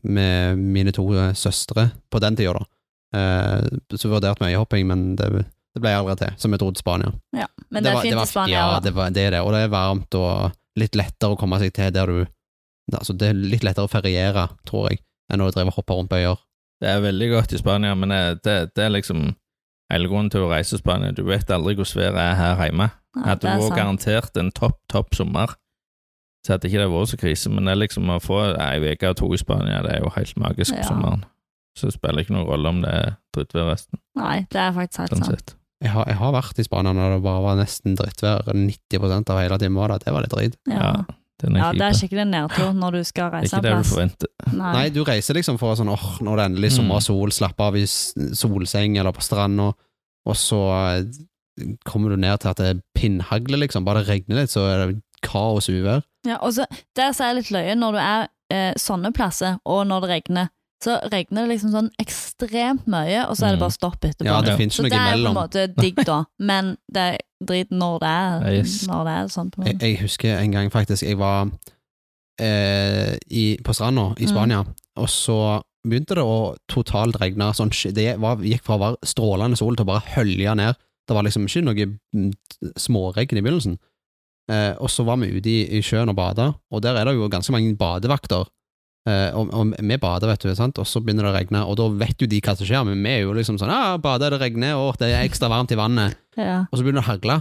Speaker 2: med mine to eh, søstre på den tida, da. Eh, så vurderte vi øyehopping, men det, det ble jeg aldri til, som jeg dro til Spania.
Speaker 1: Men det,
Speaker 2: var-
Speaker 1: er fint
Speaker 2: var-
Speaker 1: i Spania
Speaker 2: Ja,
Speaker 1: òg.
Speaker 2: det, var, det er det, og det er varmt og litt lettere å komme seg til der du Altså, det er litt lettere å feriere, tror jeg, enn å drive og hoppe rundt på øyer.
Speaker 3: Det er veldig godt i Spania, men eh, det, det er liksom hele grunnen til å reise til Spania. Du vet aldri hvordan været er her hjemme. Hadde det vært garantert en topp, topp sommer, så hadde ikke det vært så krise. Men det er liksom å få ei uke og to i Spania, det er jo helt magisk
Speaker 1: Ja.
Speaker 3: på sommeren. Så det spiller ikke noen rolle om det er drittvær resten,
Speaker 1: Nei, det er faktisk helt
Speaker 3: sånn
Speaker 1: sant.
Speaker 3: sett.
Speaker 2: Jeg har, jeg har vært i Spania når det bare var nesten drittvær 90 av hele timen. var det. Det var litt dritt.
Speaker 1: Ja.
Speaker 3: den
Speaker 1: ja, det er
Speaker 3: kjipe.
Speaker 1: skikkelig nedtur når du skal
Speaker 3: Det er
Speaker 1: reise
Speaker 3: ikke
Speaker 1: en
Speaker 3: det du
Speaker 1: plass.
Speaker 3: forventer.
Speaker 2: Nei, du reiser liksom for å sånn åh, når det er endelig
Speaker 3: Mm.
Speaker 2: sommer og sol, slapp av i s- solseng eller på stranda, og så eh, kommer du ned til at det pinnhagler, liksom. Bare det regner litt, så er det kaos uvær.
Speaker 1: Ja, og så, det som er litt løye, når du er eh, sånne plasser, og når det regner, så regner det liksom sånn ekstremt mye, og så er det bare stopp etterpå.
Speaker 2: Ja,
Speaker 3: Ja.
Speaker 2: det finnes
Speaker 1: så
Speaker 2: ikke
Speaker 1: det
Speaker 2: noe
Speaker 1: er jo på en
Speaker 2: imellom.
Speaker 1: måte digg, da, men det er drit når det er,
Speaker 3: Ja, yes.
Speaker 1: når det er sånn. på en
Speaker 2: Jeg,
Speaker 1: måte.
Speaker 2: jeg husker en gang faktisk, jeg var eh, i, på stranda i
Speaker 1: Mm.
Speaker 2: Spania, og så begynte det å totalt regne. Sånn, sk- det var, gikk fra å være strålende sol til å bare hølje ned. Det var liksom ikke noe mm, småregn i begynnelsen. Eh, og så var vi ute i, i sjøen og bada, og der er det jo ganske mange badevakter. Eh, og, og vi bader, vet du, sant? og så begynner det å regne, og da vet jo de hva som skjer, men vi er jo liksom sånn ah, 'Bader, det regner, og det er ekstra varmt i vannet'.
Speaker 1: Ja.
Speaker 2: Og så begynner det å hagle,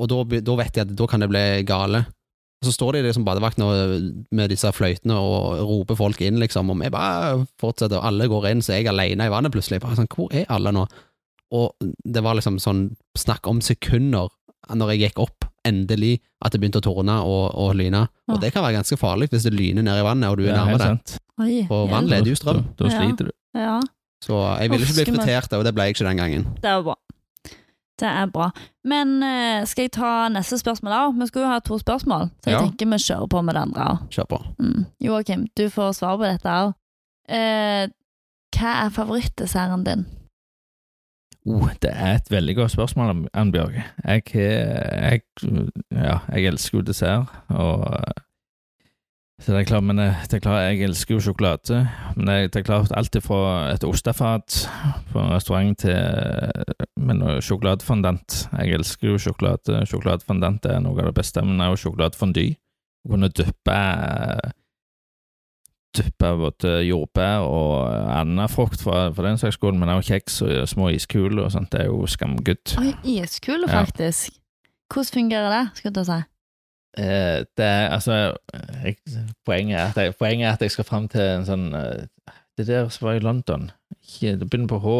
Speaker 2: og da, be- da vet jeg at da kan det bli gale. Og så står de liksom badevaktene og- med disse fløytene og roper folk inn, liksom, og vi bare fortsetter, og alle går inn, så er jeg alene i vannet plutselig. Bare sånn, hvor er alle nå? Og det var liksom sånn snakk om sekunder når jeg gikk opp, endelig, at det begynte å torne og, og lyne. Og det kan være ganske farlig hvis det lyner ned i vannet, og du er
Speaker 3: Ja,
Speaker 2: nærme
Speaker 3: helt
Speaker 2: det.
Speaker 3: sant.
Speaker 1: Oi,
Speaker 2: Og
Speaker 1: hjelp.
Speaker 2: vann leder jo strøm,
Speaker 3: Da, da
Speaker 1: Ja.
Speaker 3: sliter du.
Speaker 1: Ja,
Speaker 2: så jeg ville ikke bli
Speaker 1: Uff, skummelt.
Speaker 2: fritert, og det ble jeg ikke den gangen.
Speaker 1: det er jo bra. Det er bra. Men eh, skal jeg ta neste spørsmål òg? Vi skulle jo ha to spørsmål, så jeg
Speaker 2: Ja.
Speaker 1: tenker vi kjører på med det andre òg.
Speaker 2: Kjør på.
Speaker 1: Mm. Joakim, du får svar på dette òg. Eh, hva er favorittdesserten din?
Speaker 3: Oh, det er et veldig godt spørsmål, Annbjørg. Jeg, jeg, ja, jeg elsker jo dessert, og så det er klart, men det det er klart, jeg elsker jo sjokolade, men det det er klart alt fra et ostefat på en restaurant til eh, men også sjokoladefondant. Jeg elsker jo sjokolade. Sjokoladefondant er noe av det beste, men også sjokoladefondy. Å kunne dyppe eh, dyppe både jordbær og eh, annen frukt for, for den saks skyld, men også kjeks og små iskuler og sånt. Det er jo skamgodt.
Speaker 1: Oi, iskule,
Speaker 3: Ja.
Speaker 1: faktisk. Hvordan fungerer det, skulle jeg til å si?
Speaker 3: Eh, det er, altså, jeg, poenget, er at jeg, poenget er at jeg skal fram til en sånn eh, Det der som var i London, ikke, det begynner på H.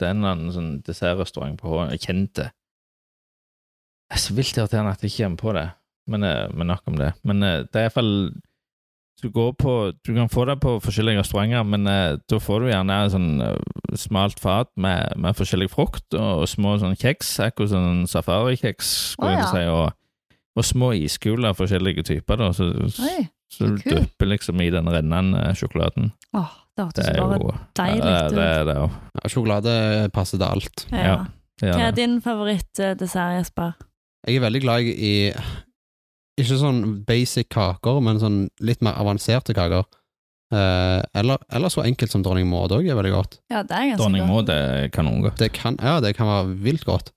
Speaker 3: Det er en eller annen sånn dessertrestaurant på H. Jeg kjente det. Det er så vilt irriterende at jeg ikke kommer på det, men, eh, men nok om det. Men eh, det er iallfall du, går på, du kan få det på forskjellige restauranter, men eh, da får du gjerne et sånn eh, smalt fat med, med forskjellig frukt og små sånn kjeks, akkurat sånn safarikjeks,
Speaker 1: Å,
Speaker 3: skulle jeg til å si. og og små iskuler av forskjellige typer, da, så,
Speaker 1: Oi.
Speaker 3: så du
Speaker 1: kult.
Speaker 3: dypper liksom i den rennende sjokoladen.
Speaker 1: Åh, det
Speaker 3: Det
Speaker 1: hørtes
Speaker 3: er
Speaker 1: bare
Speaker 3: jo
Speaker 1: deilig
Speaker 3: Ja, det, det
Speaker 1: ut.
Speaker 3: er det òg.
Speaker 2: Ja, sjokolade passer til alt.
Speaker 1: Ja.
Speaker 3: ja. Det
Speaker 1: Hva
Speaker 3: er
Speaker 1: er
Speaker 3: det.
Speaker 1: din favorittdessert, Jesper?
Speaker 2: Jeg er veldig glad i ikke sånn basic kaker, men sånn litt mer avanserte kaker. Eh, eller, eller så enkelt som dronning Maud òg er veldig godt.
Speaker 1: Ja, det er ganske
Speaker 3: Dronning
Speaker 1: godt.
Speaker 3: Maud er kanongodt.
Speaker 2: Det kan, ja, det kan være vilt godt.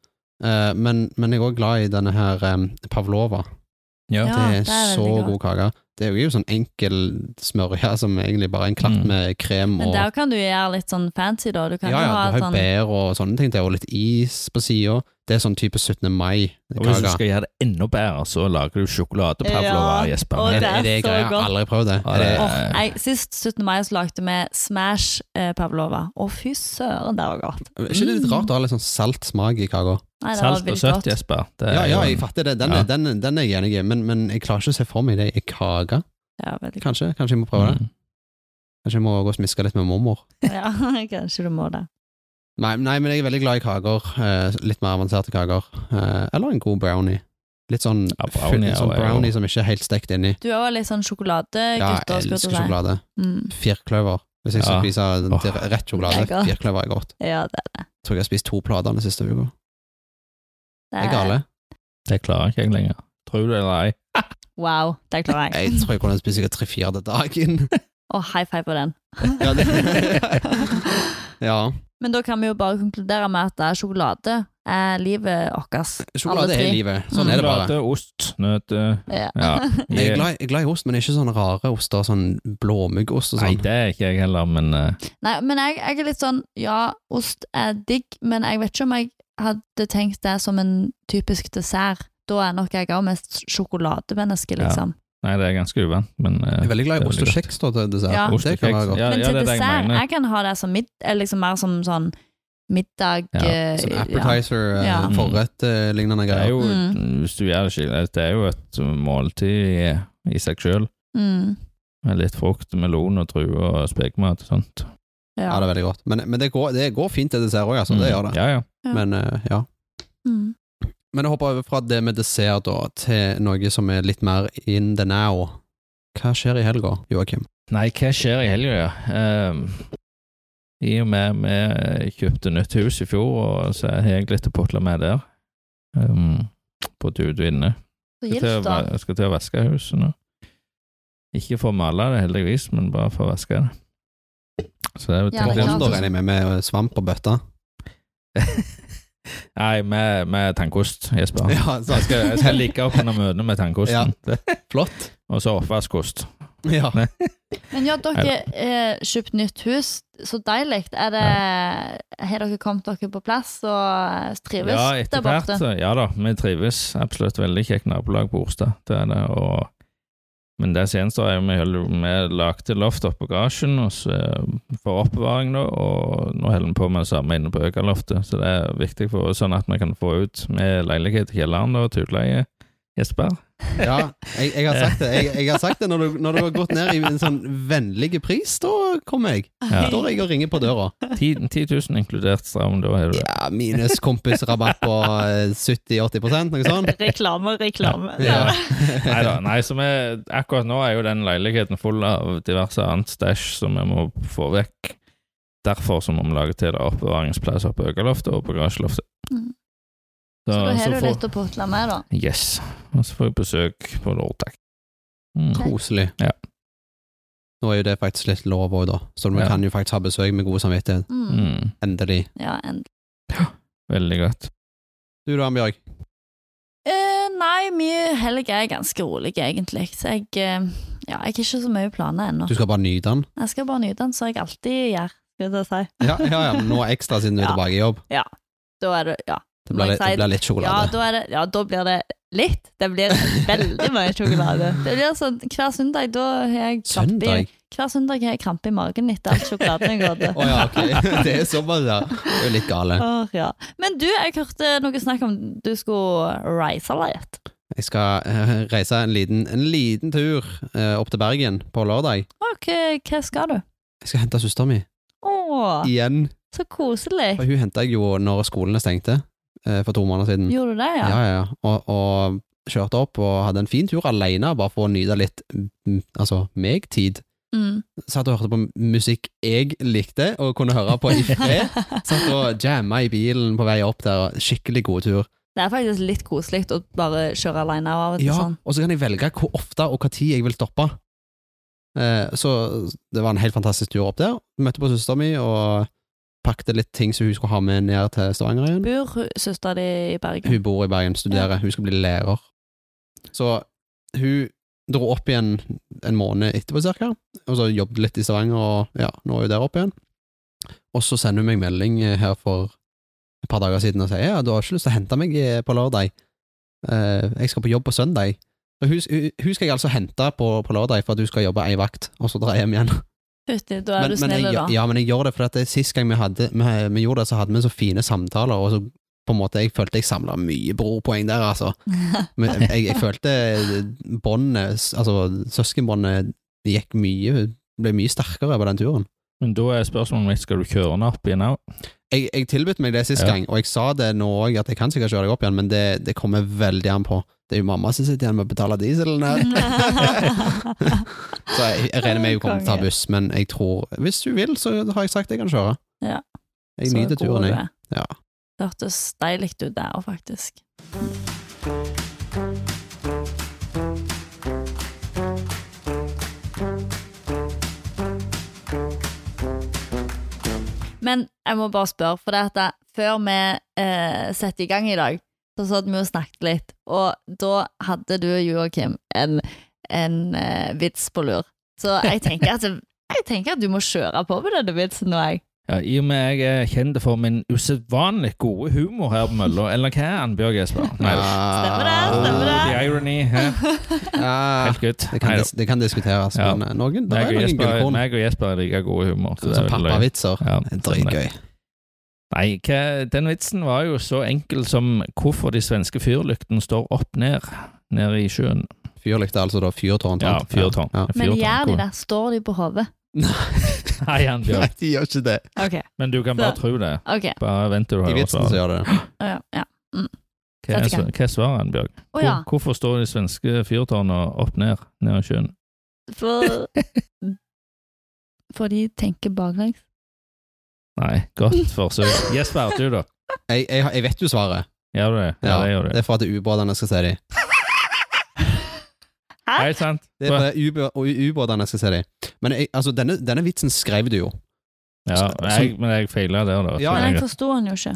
Speaker 2: Eh, men, men jeg er òg glad i denne her em, pavlova.
Speaker 1: Ja,
Speaker 2: det
Speaker 1: Ah,
Speaker 2: er,
Speaker 1: det er veldig
Speaker 2: så
Speaker 1: godt.
Speaker 2: god kake. Det er jo sånn enkel smørje som egentlig bare er en klatt
Speaker 3: Mm.
Speaker 2: med krem
Speaker 1: Men
Speaker 2: og
Speaker 1: der kan du gjøre litt sånn fancy, da. Du kan
Speaker 2: ja, ja,
Speaker 1: jo ha
Speaker 2: du har jo
Speaker 1: sånn
Speaker 2: bær og sånne ting. Det er jo litt is på sida. Det er sånn type 17.
Speaker 3: Og hvis du
Speaker 2: mai-kake.
Speaker 3: skal gjøre det enda bedre, så lager du sjokoladepavlova,
Speaker 1: Ja,
Speaker 3: Jesper.
Speaker 1: og
Speaker 2: Er,
Speaker 1: det
Speaker 2: det-
Speaker 1: er
Speaker 2: er det
Speaker 1: så
Speaker 2: greier? Jeg
Speaker 1: godt.
Speaker 2: har aldri prøvd det.
Speaker 3: Ja,
Speaker 2: Er det
Speaker 3: det-
Speaker 1: Åh, nei, Sist 17. mai så lagde vi Smash eh, Pavlova. Å, fy søren, det var godt.
Speaker 2: Er ikke det litt rart å ha litt sånn salt smak i kaka?
Speaker 1: Nei, det
Speaker 3: Salt
Speaker 1: var
Speaker 3: og
Speaker 1: veldig
Speaker 3: søtt,
Speaker 1: godt.
Speaker 3: Jesper. Det er
Speaker 2: Ja, ja,
Speaker 3: jo en-
Speaker 2: jeg fatter det. Den,
Speaker 3: Ja.
Speaker 2: er- den, den er jeg enig i, men, men jeg klarer ikke å se for meg det i kake.
Speaker 1: Ja, veldig godt.
Speaker 2: Kanskje kanskje jeg må prøve det?
Speaker 3: Mm.
Speaker 2: Kanskje jeg må gå og smiske litt med mormor?
Speaker 1: Ja, kanskje du må det.
Speaker 2: Nei, nei, men jeg er veldig glad i kaker. eh, litt mer avanserte kaker. Eh, eller en god brownie. Litt sånn
Speaker 3: Ja,
Speaker 2: full,
Speaker 3: brownie er
Speaker 2: sånn
Speaker 3: jo-
Speaker 2: brownie som ikke er helt stekt inni.
Speaker 1: Du er jo litt sånn
Speaker 2: Ja,
Speaker 1: sjokoladegutter,
Speaker 2: jeg
Speaker 1: skulle jeg
Speaker 2: elsker
Speaker 1: til å si.
Speaker 2: sjokolade.
Speaker 1: Mm.
Speaker 2: Firkløver. Hvis jeg skal
Speaker 3: Ja.
Speaker 2: spise den
Speaker 3: Åh.
Speaker 2: til rett sjokolade,
Speaker 1: Lekker.
Speaker 2: firkløver er godt.
Speaker 1: Ja, det,
Speaker 2: Tror jeg har spist to plater den siste uka.
Speaker 1: det
Speaker 2: Er jeg gale?
Speaker 3: Det klarer ikke jeg lenger. Tror du det eller ei?
Speaker 1: Wow, det klarer jeg.
Speaker 2: Jeg tror jeg kunne spist sikkert tre-fire til dagen.
Speaker 1: Og high five på den.
Speaker 2: Ja, ja.
Speaker 1: Men da kan vi jo bare konkludere med at det er sjokolade er livet vårt.
Speaker 2: Sjokolade
Speaker 1: Alle
Speaker 2: er
Speaker 1: tre.
Speaker 2: livet. Sånn er det bare.
Speaker 3: Sjokolade, ost, nøtter
Speaker 1: Ja.
Speaker 3: Ja.
Speaker 2: Jeg er, glad, jeg er glad i ost, men ikke sånne rare oster, sånn blåmuggost og
Speaker 3: Nei,
Speaker 2: sånn.
Speaker 3: det er ikke jeg heller, men eh,
Speaker 1: Nei, men jeg, jeg er litt sånn Ja, ost er digg, men jeg vet ikke om jeg hadde tenkt det som en typisk dessert. Da er nok jeg òg mest sjokolademenneske,
Speaker 3: Ja.
Speaker 1: liksom.
Speaker 3: Nei, det er ganske uvant, men eh,
Speaker 2: Jeg er veldig glad i
Speaker 3: det er
Speaker 2: ost og
Speaker 3: veldig
Speaker 2: kjeks da, til dessert.
Speaker 1: Ja.
Speaker 3: Ost
Speaker 2: Det
Speaker 3: og
Speaker 2: kan
Speaker 3: kjeks.
Speaker 2: være godt.
Speaker 3: Ja,
Speaker 1: men
Speaker 3: ja,
Speaker 1: til
Speaker 3: det er det jeg
Speaker 1: dessert,
Speaker 3: mener.
Speaker 1: jeg kan ha det som mid, eh, liksom mer som sånn middag
Speaker 3: Ja,
Speaker 1: eh,
Speaker 2: Sånn
Speaker 1: ja.
Speaker 2: appetizer, eh,
Speaker 1: Ja.
Speaker 2: forrett, eh, lignende
Speaker 3: Mm. Det er
Speaker 2: greier.
Speaker 3: jo,
Speaker 1: Mm.
Speaker 3: hvis du gjør det skikkelig, det er jo et måltid i, i seg selv,
Speaker 1: Mm,
Speaker 3: med litt frukt, melon og druer og spekemat og sånt.
Speaker 2: Ja,
Speaker 1: ja.
Speaker 2: det er veldig godt. Men, men det, går, det går fint til dessert òg, altså. Det
Speaker 3: Mm.
Speaker 2: gjør det.
Speaker 3: Ja, ja.
Speaker 1: Ja.
Speaker 2: Men eh, ja.
Speaker 1: Mm.
Speaker 2: Men jeg hopper over fra det med dessert da, til noe som er litt mer in the now. Hva skjer i helga, Joakim?
Speaker 3: Nei, hva skjer i helga, ja? Ehm, I og med vi kjøpte nytt hus i fjor, og så har jeg litt å putle med der. Ehm, på Dude og inne.
Speaker 1: Så
Speaker 3: Skal til, å,
Speaker 1: gilt, da.
Speaker 3: va- skal til å vaske huset nå. Ikke for å male det, heldigvis, men bare for å vaske det. Så det,
Speaker 1: Ja,
Speaker 3: det,
Speaker 1: det er klart.
Speaker 2: Rom, da regner jeg med, med svamp og bøtter.
Speaker 3: Nei, med, med tankost, Jesper.
Speaker 2: Ja, så
Speaker 3: Jeg skal, Eh, jeg skal ligge opp under møtene med tankosten.
Speaker 2: Flott.
Speaker 3: Og så oppvaskost.
Speaker 2: Ja.
Speaker 1: Men ja, dere eh, kjøpt nytt hus, så deilig. Er det, Har dere kommet dere på plass og eh, trives
Speaker 3: Ja,
Speaker 1: der
Speaker 3: etter hvert. eh,
Speaker 1: borte?
Speaker 3: Ja da, vi trives. Absolutt veldig kjekt nabolag på Orstad. Det er det. Og, men det som gjenstår, er jo vi holder- vi lagde loft oppå garasjen og så- eh, for oppbevaring, da, og nå holder vi på med det samme inne på Økaloftet. Så det er viktig for oss, sånn at vi kan få ut med leilighet i kjelleren da, og til utleie. Jesper?
Speaker 2: ja jeg, jeg har sagt det. Jeg, jeg har sagt det når du, når du har gått ned i en sånn vennlig pris, da kommer jeg. Da
Speaker 3: Ja.
Speaker 2: står jeg og ringer på døra.
Speaker 3: 10 000 inkludert stram, da er du det.
Speaker 2: Ja, minus kompisrabatt på eh, 70-80 noe sånt.
Speaker 1: Reklame, reklame.
Speaker 2: Ja.
Speaker 3: Nei da. Nei, så vi, akkurat nå er jo den leiligheten full av diverse annet stæsj som vi må få vekk. Derfor så må vi lage til det oppbevaringsplass oppe på Økaloftet og på garasjeloftet.
Speaker 1: Mm. Så da har du litt å putle med, da.
Speaker 3: Yes. Og så får jeg besøk på lørdag. Mm.
Speaker 2: Koselig.
Speaker 3: Ja.
Speaker 2: Nå er jo det faktisk litt lov òg, da, så vi
Speaker 3: Ja.
Speaker 2: kan jo faktisk ha besøk med god samvittighet.
Speaker 1: Mm.
Speaker 3: Mm.
Speaker 2: Endelig.
Speaker 1: Ja, endelig.
Speaker 3: Veldig godt.
Speaker 2: Du da, Bjørg.
Speaker 1: Eh, nei, min helg er ganske rolig, egentlig. Så jeg, eh, ja, jeg har ikke så mye planer ennå.
Speaker 2: Du skal bare nyte den?
Speaker 1: Jeg skal bare nyte den, som jeg alltid gjør. Skal jeg si.
Speaker 2: Ja, ja, ja, men nå ekstra siden du er
Speaker 1: Ja.
Speaker 2: tilbake i jobb.
Speaker 1: Da er det, ja.
Speaker 2: Det blir, litt- det blir litt
Speaker 1: Ja,
Speaker 2: sjokolade.
Speaker 1: da, er det, ja, da blir det litt. Det blir veldig mye sjokolade. Det blir sånn, Hver søndag da har jeg krampe i,
Speaker 2: Søndag?
Speaker 1: hver søndag har jeg krampe i magen etter all sjokoladen jeg har
Speaker 2: Å
Speaker 1: spist.
Speaker 2: ja, ok. Det er såpass, ja. Det er jo litt gale.
Speaker 1: Åh, ja. Men du, jeg hørte noe snakk om du skulle reise litt.
Speaker 2: Jeg skal eh, reise en liten, en liten tur eh, opp til Bergen på lørdag.
Speaker 1: Ok, hva skal du?
Speaker 2: Jeg skal hente søsteren min
Speaker 1: Åh,
Speaker 2: igjen.
Speaker 1: så koselig.
Speaker 2: For hun henta jeg jo når skolene stengte eh, for to måneder siden.
Speaker 1: Gjorde du det, ja?
Speaker 2: Ja, ja, ja. Og, og kjørte opp og hadde en fin tur alene, bare for å nyte litt mm, altså, meg-tid.
Speaker 1: Mm.
Speaker 2: Satt og hørte på musikk jeg likte, og kunne høre på i fred. Satt og jamma i bilen på vei opp der, og skikkelig god tur.
Speaker 1: Det er faktisk litt koselig å bare kjøre alene av og til
Speaker 2: Ja,
Speaker 1: sånn.
Speaker 2: og så kan jeg velge hvor ofte og hva tid jeg vil stoppe. Eh, så det var en helt fantastisk tur opp der. Møtte på søsteren min og pakket litt ting som hun skulle ha med ned til Stavanger igjen.
Speaker 1: Bor hu- søstera di i Bergen?
Speaker 2: Hun bor i Bergen, studerer, hun skal bli lærer. Så hun dro opp igjen en måned etterpå, cirka, og så jobbet litt i Stavanger, og ja, nå er hun der oppe igjen. Og så sender hun meg melding eh, her for et par dager siden og sier ja, du har ikke lyst til å hente meg eh, på lørdag, Eh, jeg skal på jobb på søndag. Så hun, hun, hun skal jeg altså hente på, på lørdag for at hun skal jobbe ei vakt, og så dra hjem igjen.
Speaker 1: Fytti, da er
Speaker 2: Men-
Speaker 1: du
Speaker 2: men
Speaker 1: snill,
Speaker 2: jeg,
Speaker 1: da.
Speaker 2: Ja, men jeg gjør det, for at det, sist gang vi, hadde, vi, vi gjorde det, så hadde vi så fine samtaler, og så på en måte, jeg følte jeg samla mye brorpoeng der, altså. Men jeg, jeg følte båndet, s- altså søskenbåndet, gikk mye, ble mye sterkere på den turen.
Speaker 3: Men da er spørsmålet mitt, skal du kjøre den opp igjen òg?
Speaker 2: Jeg, jeg tilbød meg det sist
Speaker 3: Ja.
Speaker 2: gang, og jeg sa det nå òg, at jeg kan sikkert kjøre deg opp igjen, men det, det kommer veldig an på. Det er jo mamma som sitter igjen med å betale dieselen her. Så jeg, jeg regner med hun kommer til å ta
Speaker 1: Konge.
Speaker 2: buss, men jeg tror Hvis hun vil, så har jeg sagt jeg kan kjøre.
Speaker 1: Ja.
Speaker 2: Jeg
Speaker 1: Så
Speaker 2: nyter
Speaker 1: god
Speaker 2: turen,
Speaker 1: du
Speaker 2: jeg.
Speaker 1: er.
Speaker 2: Ja.
Speaker 1: Det hørtes deilig ut der òg, faktisk. Men jeg må bare spørre, for det at jeg- før vi eh, setter i gang i dag, så satt vi og snakket litt, og da hadde du, Joakim, en, en eh, vits på lur. Så jeg tenker, at, jeg tenker at du må kjøre på med denne vitsen nå, jeg.
Speaker 3: Ja, I og med jeg er kjent for min usedvanlig gode humor her på mølla, eller hva er den, Bjørg Jesper? Nei.
Speaker 1: Stemmer det, stemmer det.
Speaker 3: The irony. hæ?
Speaker 2: Ja,
Speaker 3: Helt good.
Speaker 2: det, kan
Speaker 3: Nei da.
Speaker 2: dis det kan diskuteres,
Speaker 3: Ja.
Speaker 2: men eh, noen, det er
Speaker 3: Meg og
Speaker 2: noen
Speaker 3: Jesper-
Speaker 2: gullkorn.
Speaker 3: meg og Jesper er like god i humor. så det
Speaker 2: Så
Speaker 3: er vel løye.
Speaker 2: pappavitser.
Speaker 3: Ja,
Speaker 2: Det er
Speaker 3: sånn det.
Speaker 2: Dritgøy.
Speaker 3: Nei, hva, den vitsen var jo så enkel som hvorfor de svenske fyrlyktene står opp ned nede i sjøen.
Speaker 2: Fyrlykte, altså da. Fyrtårn.
Speaker 3: Ja,
Speaker 2: sant?
Speaker 3: fyrtårn.
Speaker 2: Ja.
Speaker 1: Men
Speaker 3: Fyrtårn.
Speaker 1: gjør de det? Står de på hodet?
Speaker 3: Nei, han
Speaker 2: Nei,
Speaker 3: gjør
Speaker 2: de gjør ikke det.
Speaker 1: Ok.
Speaker 3: Men du kan bare tro det.
Speaker 1: Ok,
Speaker 3: Bare vent til du
Speaker 2: I
Speaker 3: hører
Speaker 2: vitsen så
Speaker 3: svaret.
Speaker 2: gjør det det.
Speaker 1: Å ja. ja.
Speaker 3: Hva er
Speaker 1: Sett i gang.
Speaker 3: sv- hva er svaret, Ann Bjørg?
Speaker 1: Å ja,
Speaker 3: Hvor, hvorfor står de svenske fyrtårnene opp ned nede i sjøen?
Speaker 1: for For de tenker baklengs.
Speaker 3: Nei, godt forsøk. Jesper, du da?
Speaker 2: Jeg, jeg, har- jeg vet jo svaret.
Speaker 3: Gjør du det? Ja,
Speaker 2: Ja,
Speaker 3: det gjør du.
Speaker 2: Det er for at det er ubåtene skal se dem.
Speaker 1: Hæ?
Speaker 3: Helt sant.
Speaker 2: Det er for at ubå- og ubåtene skal se dem. Men jeg, altså, denne, denne vitsen skrev du jo.
Speaker 3: Ja, jeg, men jeg feila der, da. så
Speaker 2: Ja,
Speaker 1: Men jeg
Speaker 3: jeg-
Speaker 1: forsto han jo ikke.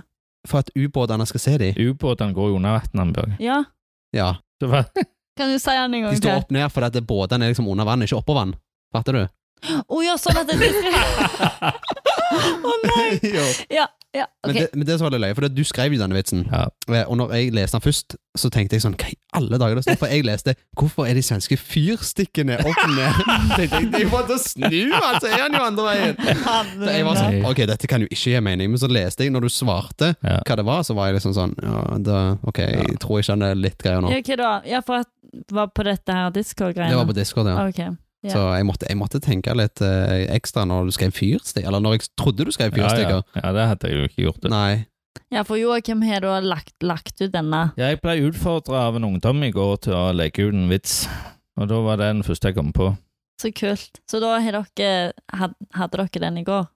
Speaker 2: For at ubåtene skal se dem.
Speaker 3: Ubåtene går jo under vannet, Ambjørg.
Speaker 1: Ja,
Speaker 2: Ja.
Speaker 3: Det var
Speaker 1: kan du si han en
Speaker 2: De
Speaker 1: gang
Speaker 2: står
Speaker 1: til?
Speaker 2: opp ned fordi at båtene er liksom under vann, ikke oppå vann. Fatter du?
Speaker 1: Å ja, sånn at det Å nei!
Speaker 2: jo.
Speaker 1: Ja, ja,
Speaker 2: Men,
Speaker 1: ok.
Speaker 2: det, men det som var litt løye, for det- du skrev jo denne vitsen.
Speaker 3: Ja.
Speaker 2: Eh, Og når jeg leste den først, så tenkte jeg sånn Hva i alle dager det står? For jeg leste 'Hvorfor er de svenske fyrstikkene opp ned?' tenkte jeg, De får til å snu, altså! Er han jo andre veien? Så jeg var sånn, ok, dette kan jo ikke gi mening, men så leste jeg, når du svarte
Speaker 3: Ja.
Speaker 2: hva det var, så var jeg liksom sånn ja, da, Ok, jeg tror jeg skjønner litt greier nå.
Speaker 1: Ja, hva da? Ja, for jeg var på dette her
Speaker 2: Det var
Speaker 1: Discord-greiene.
Speaker 2: på Discord, ja.
Speaker 1: Ok. ja.
Speaker 2: Så jeg måtte, jeg måtte tenke litt eh, ekstra når du skrev fyrstikker, eller når jeg trodde du skrev fyrstikker.
Speaker 3: Ja, ja. ja, det hadde jeg jo ikke gjort. Det.
Speaker 2: Nei.
Speaker 1: Ja, for Joakim har da lagt, lagt ut denne.
Speaker 3: Jeg ble utfordra av en ungdom i går til å leke ut en vits, og da var det den første jeg kom på.
Speaker 1: Så kult. Så da har dere, had, hadde dere den i går?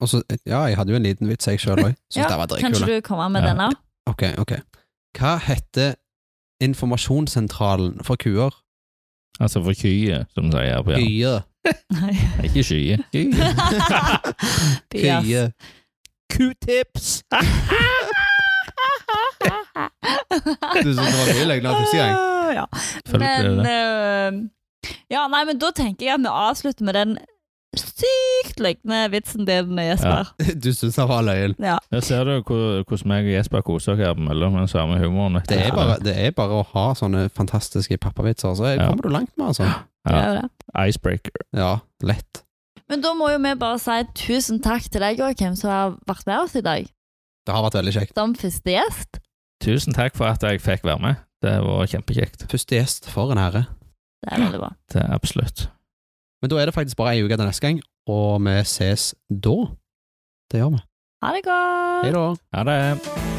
Speaker 2: Og så, eh, ja, jeg hadde jo en liten vits, jeg sjøl òg. Syns
Speaker 1: Ja,
Speaker 2: det var dritkul.
Speaker 1: Kanskje du kommer med
Speaker 3: Ja.
Speaker 1: denne?
Speaker 2: Ok, ok. Hva heter informasjonssentralen for kuer?
Speaker 3: Altså for kye, som de sier her på Jæren.
Speaker 2: Kye.
Speaker 1: Nei.
Speaker 3: Ikke skye. Kye.
Speaker 1: Bias.
Speaker 2: Kye.
Speaker 3: Q-tips!
Speaker 2: Du syntes det var mye løgner første gang?
Speaker 1: Ah, Ja.
Speaker 3: Selvfølgelig
Speaker 1: Men
Speaker 3: er det.
Speaker 1: eh, Ja, nei, men da tenker jeg at vi avslutter med den sykt lignende vitsen din, Jesper.
Speaker 2: Du syns det var løgn.
Speaker 1: Ja.
Speaker 3: Der ser du hvor- hvordan meg og Jesper koser oss her mellom den samme humoren. vet du.
Speaker 2: Det er, bare, det er bare å ha sånne fantastiske pappavitser, så
Speaker 3: Ja.
Speaker 2: kommer du langt med, altså.
Speaker 1: Det
Speaker 3: Ja.
Speaker 1: er jo det.
Speaker 3: Icebreaker.
Speaker 2: Ja, lett.
Speaker 1: Men da må jo vi bare si tusen takk til deg, Joakim, som har vært med oss i dag.
Speaker 2: Det har vært veldig kjekt.
Speaker 1: Som første gjest.
Speaker 3: Tusen takk for at jeg fikk være med. Det var kjempekjekt.
Speaker 2: Første gjest, for en ære.
Speaker 1: Det er veldig bra.
Speaker 3: Det er absolutt.
Speaker 2: Men da er det faktisk bare ei uke til neste gang, og vi ses da. Det gjør vi.
Speaker 1: Ha det godt!
Speaker 2: Hei da.
Speaker 3: Ha det.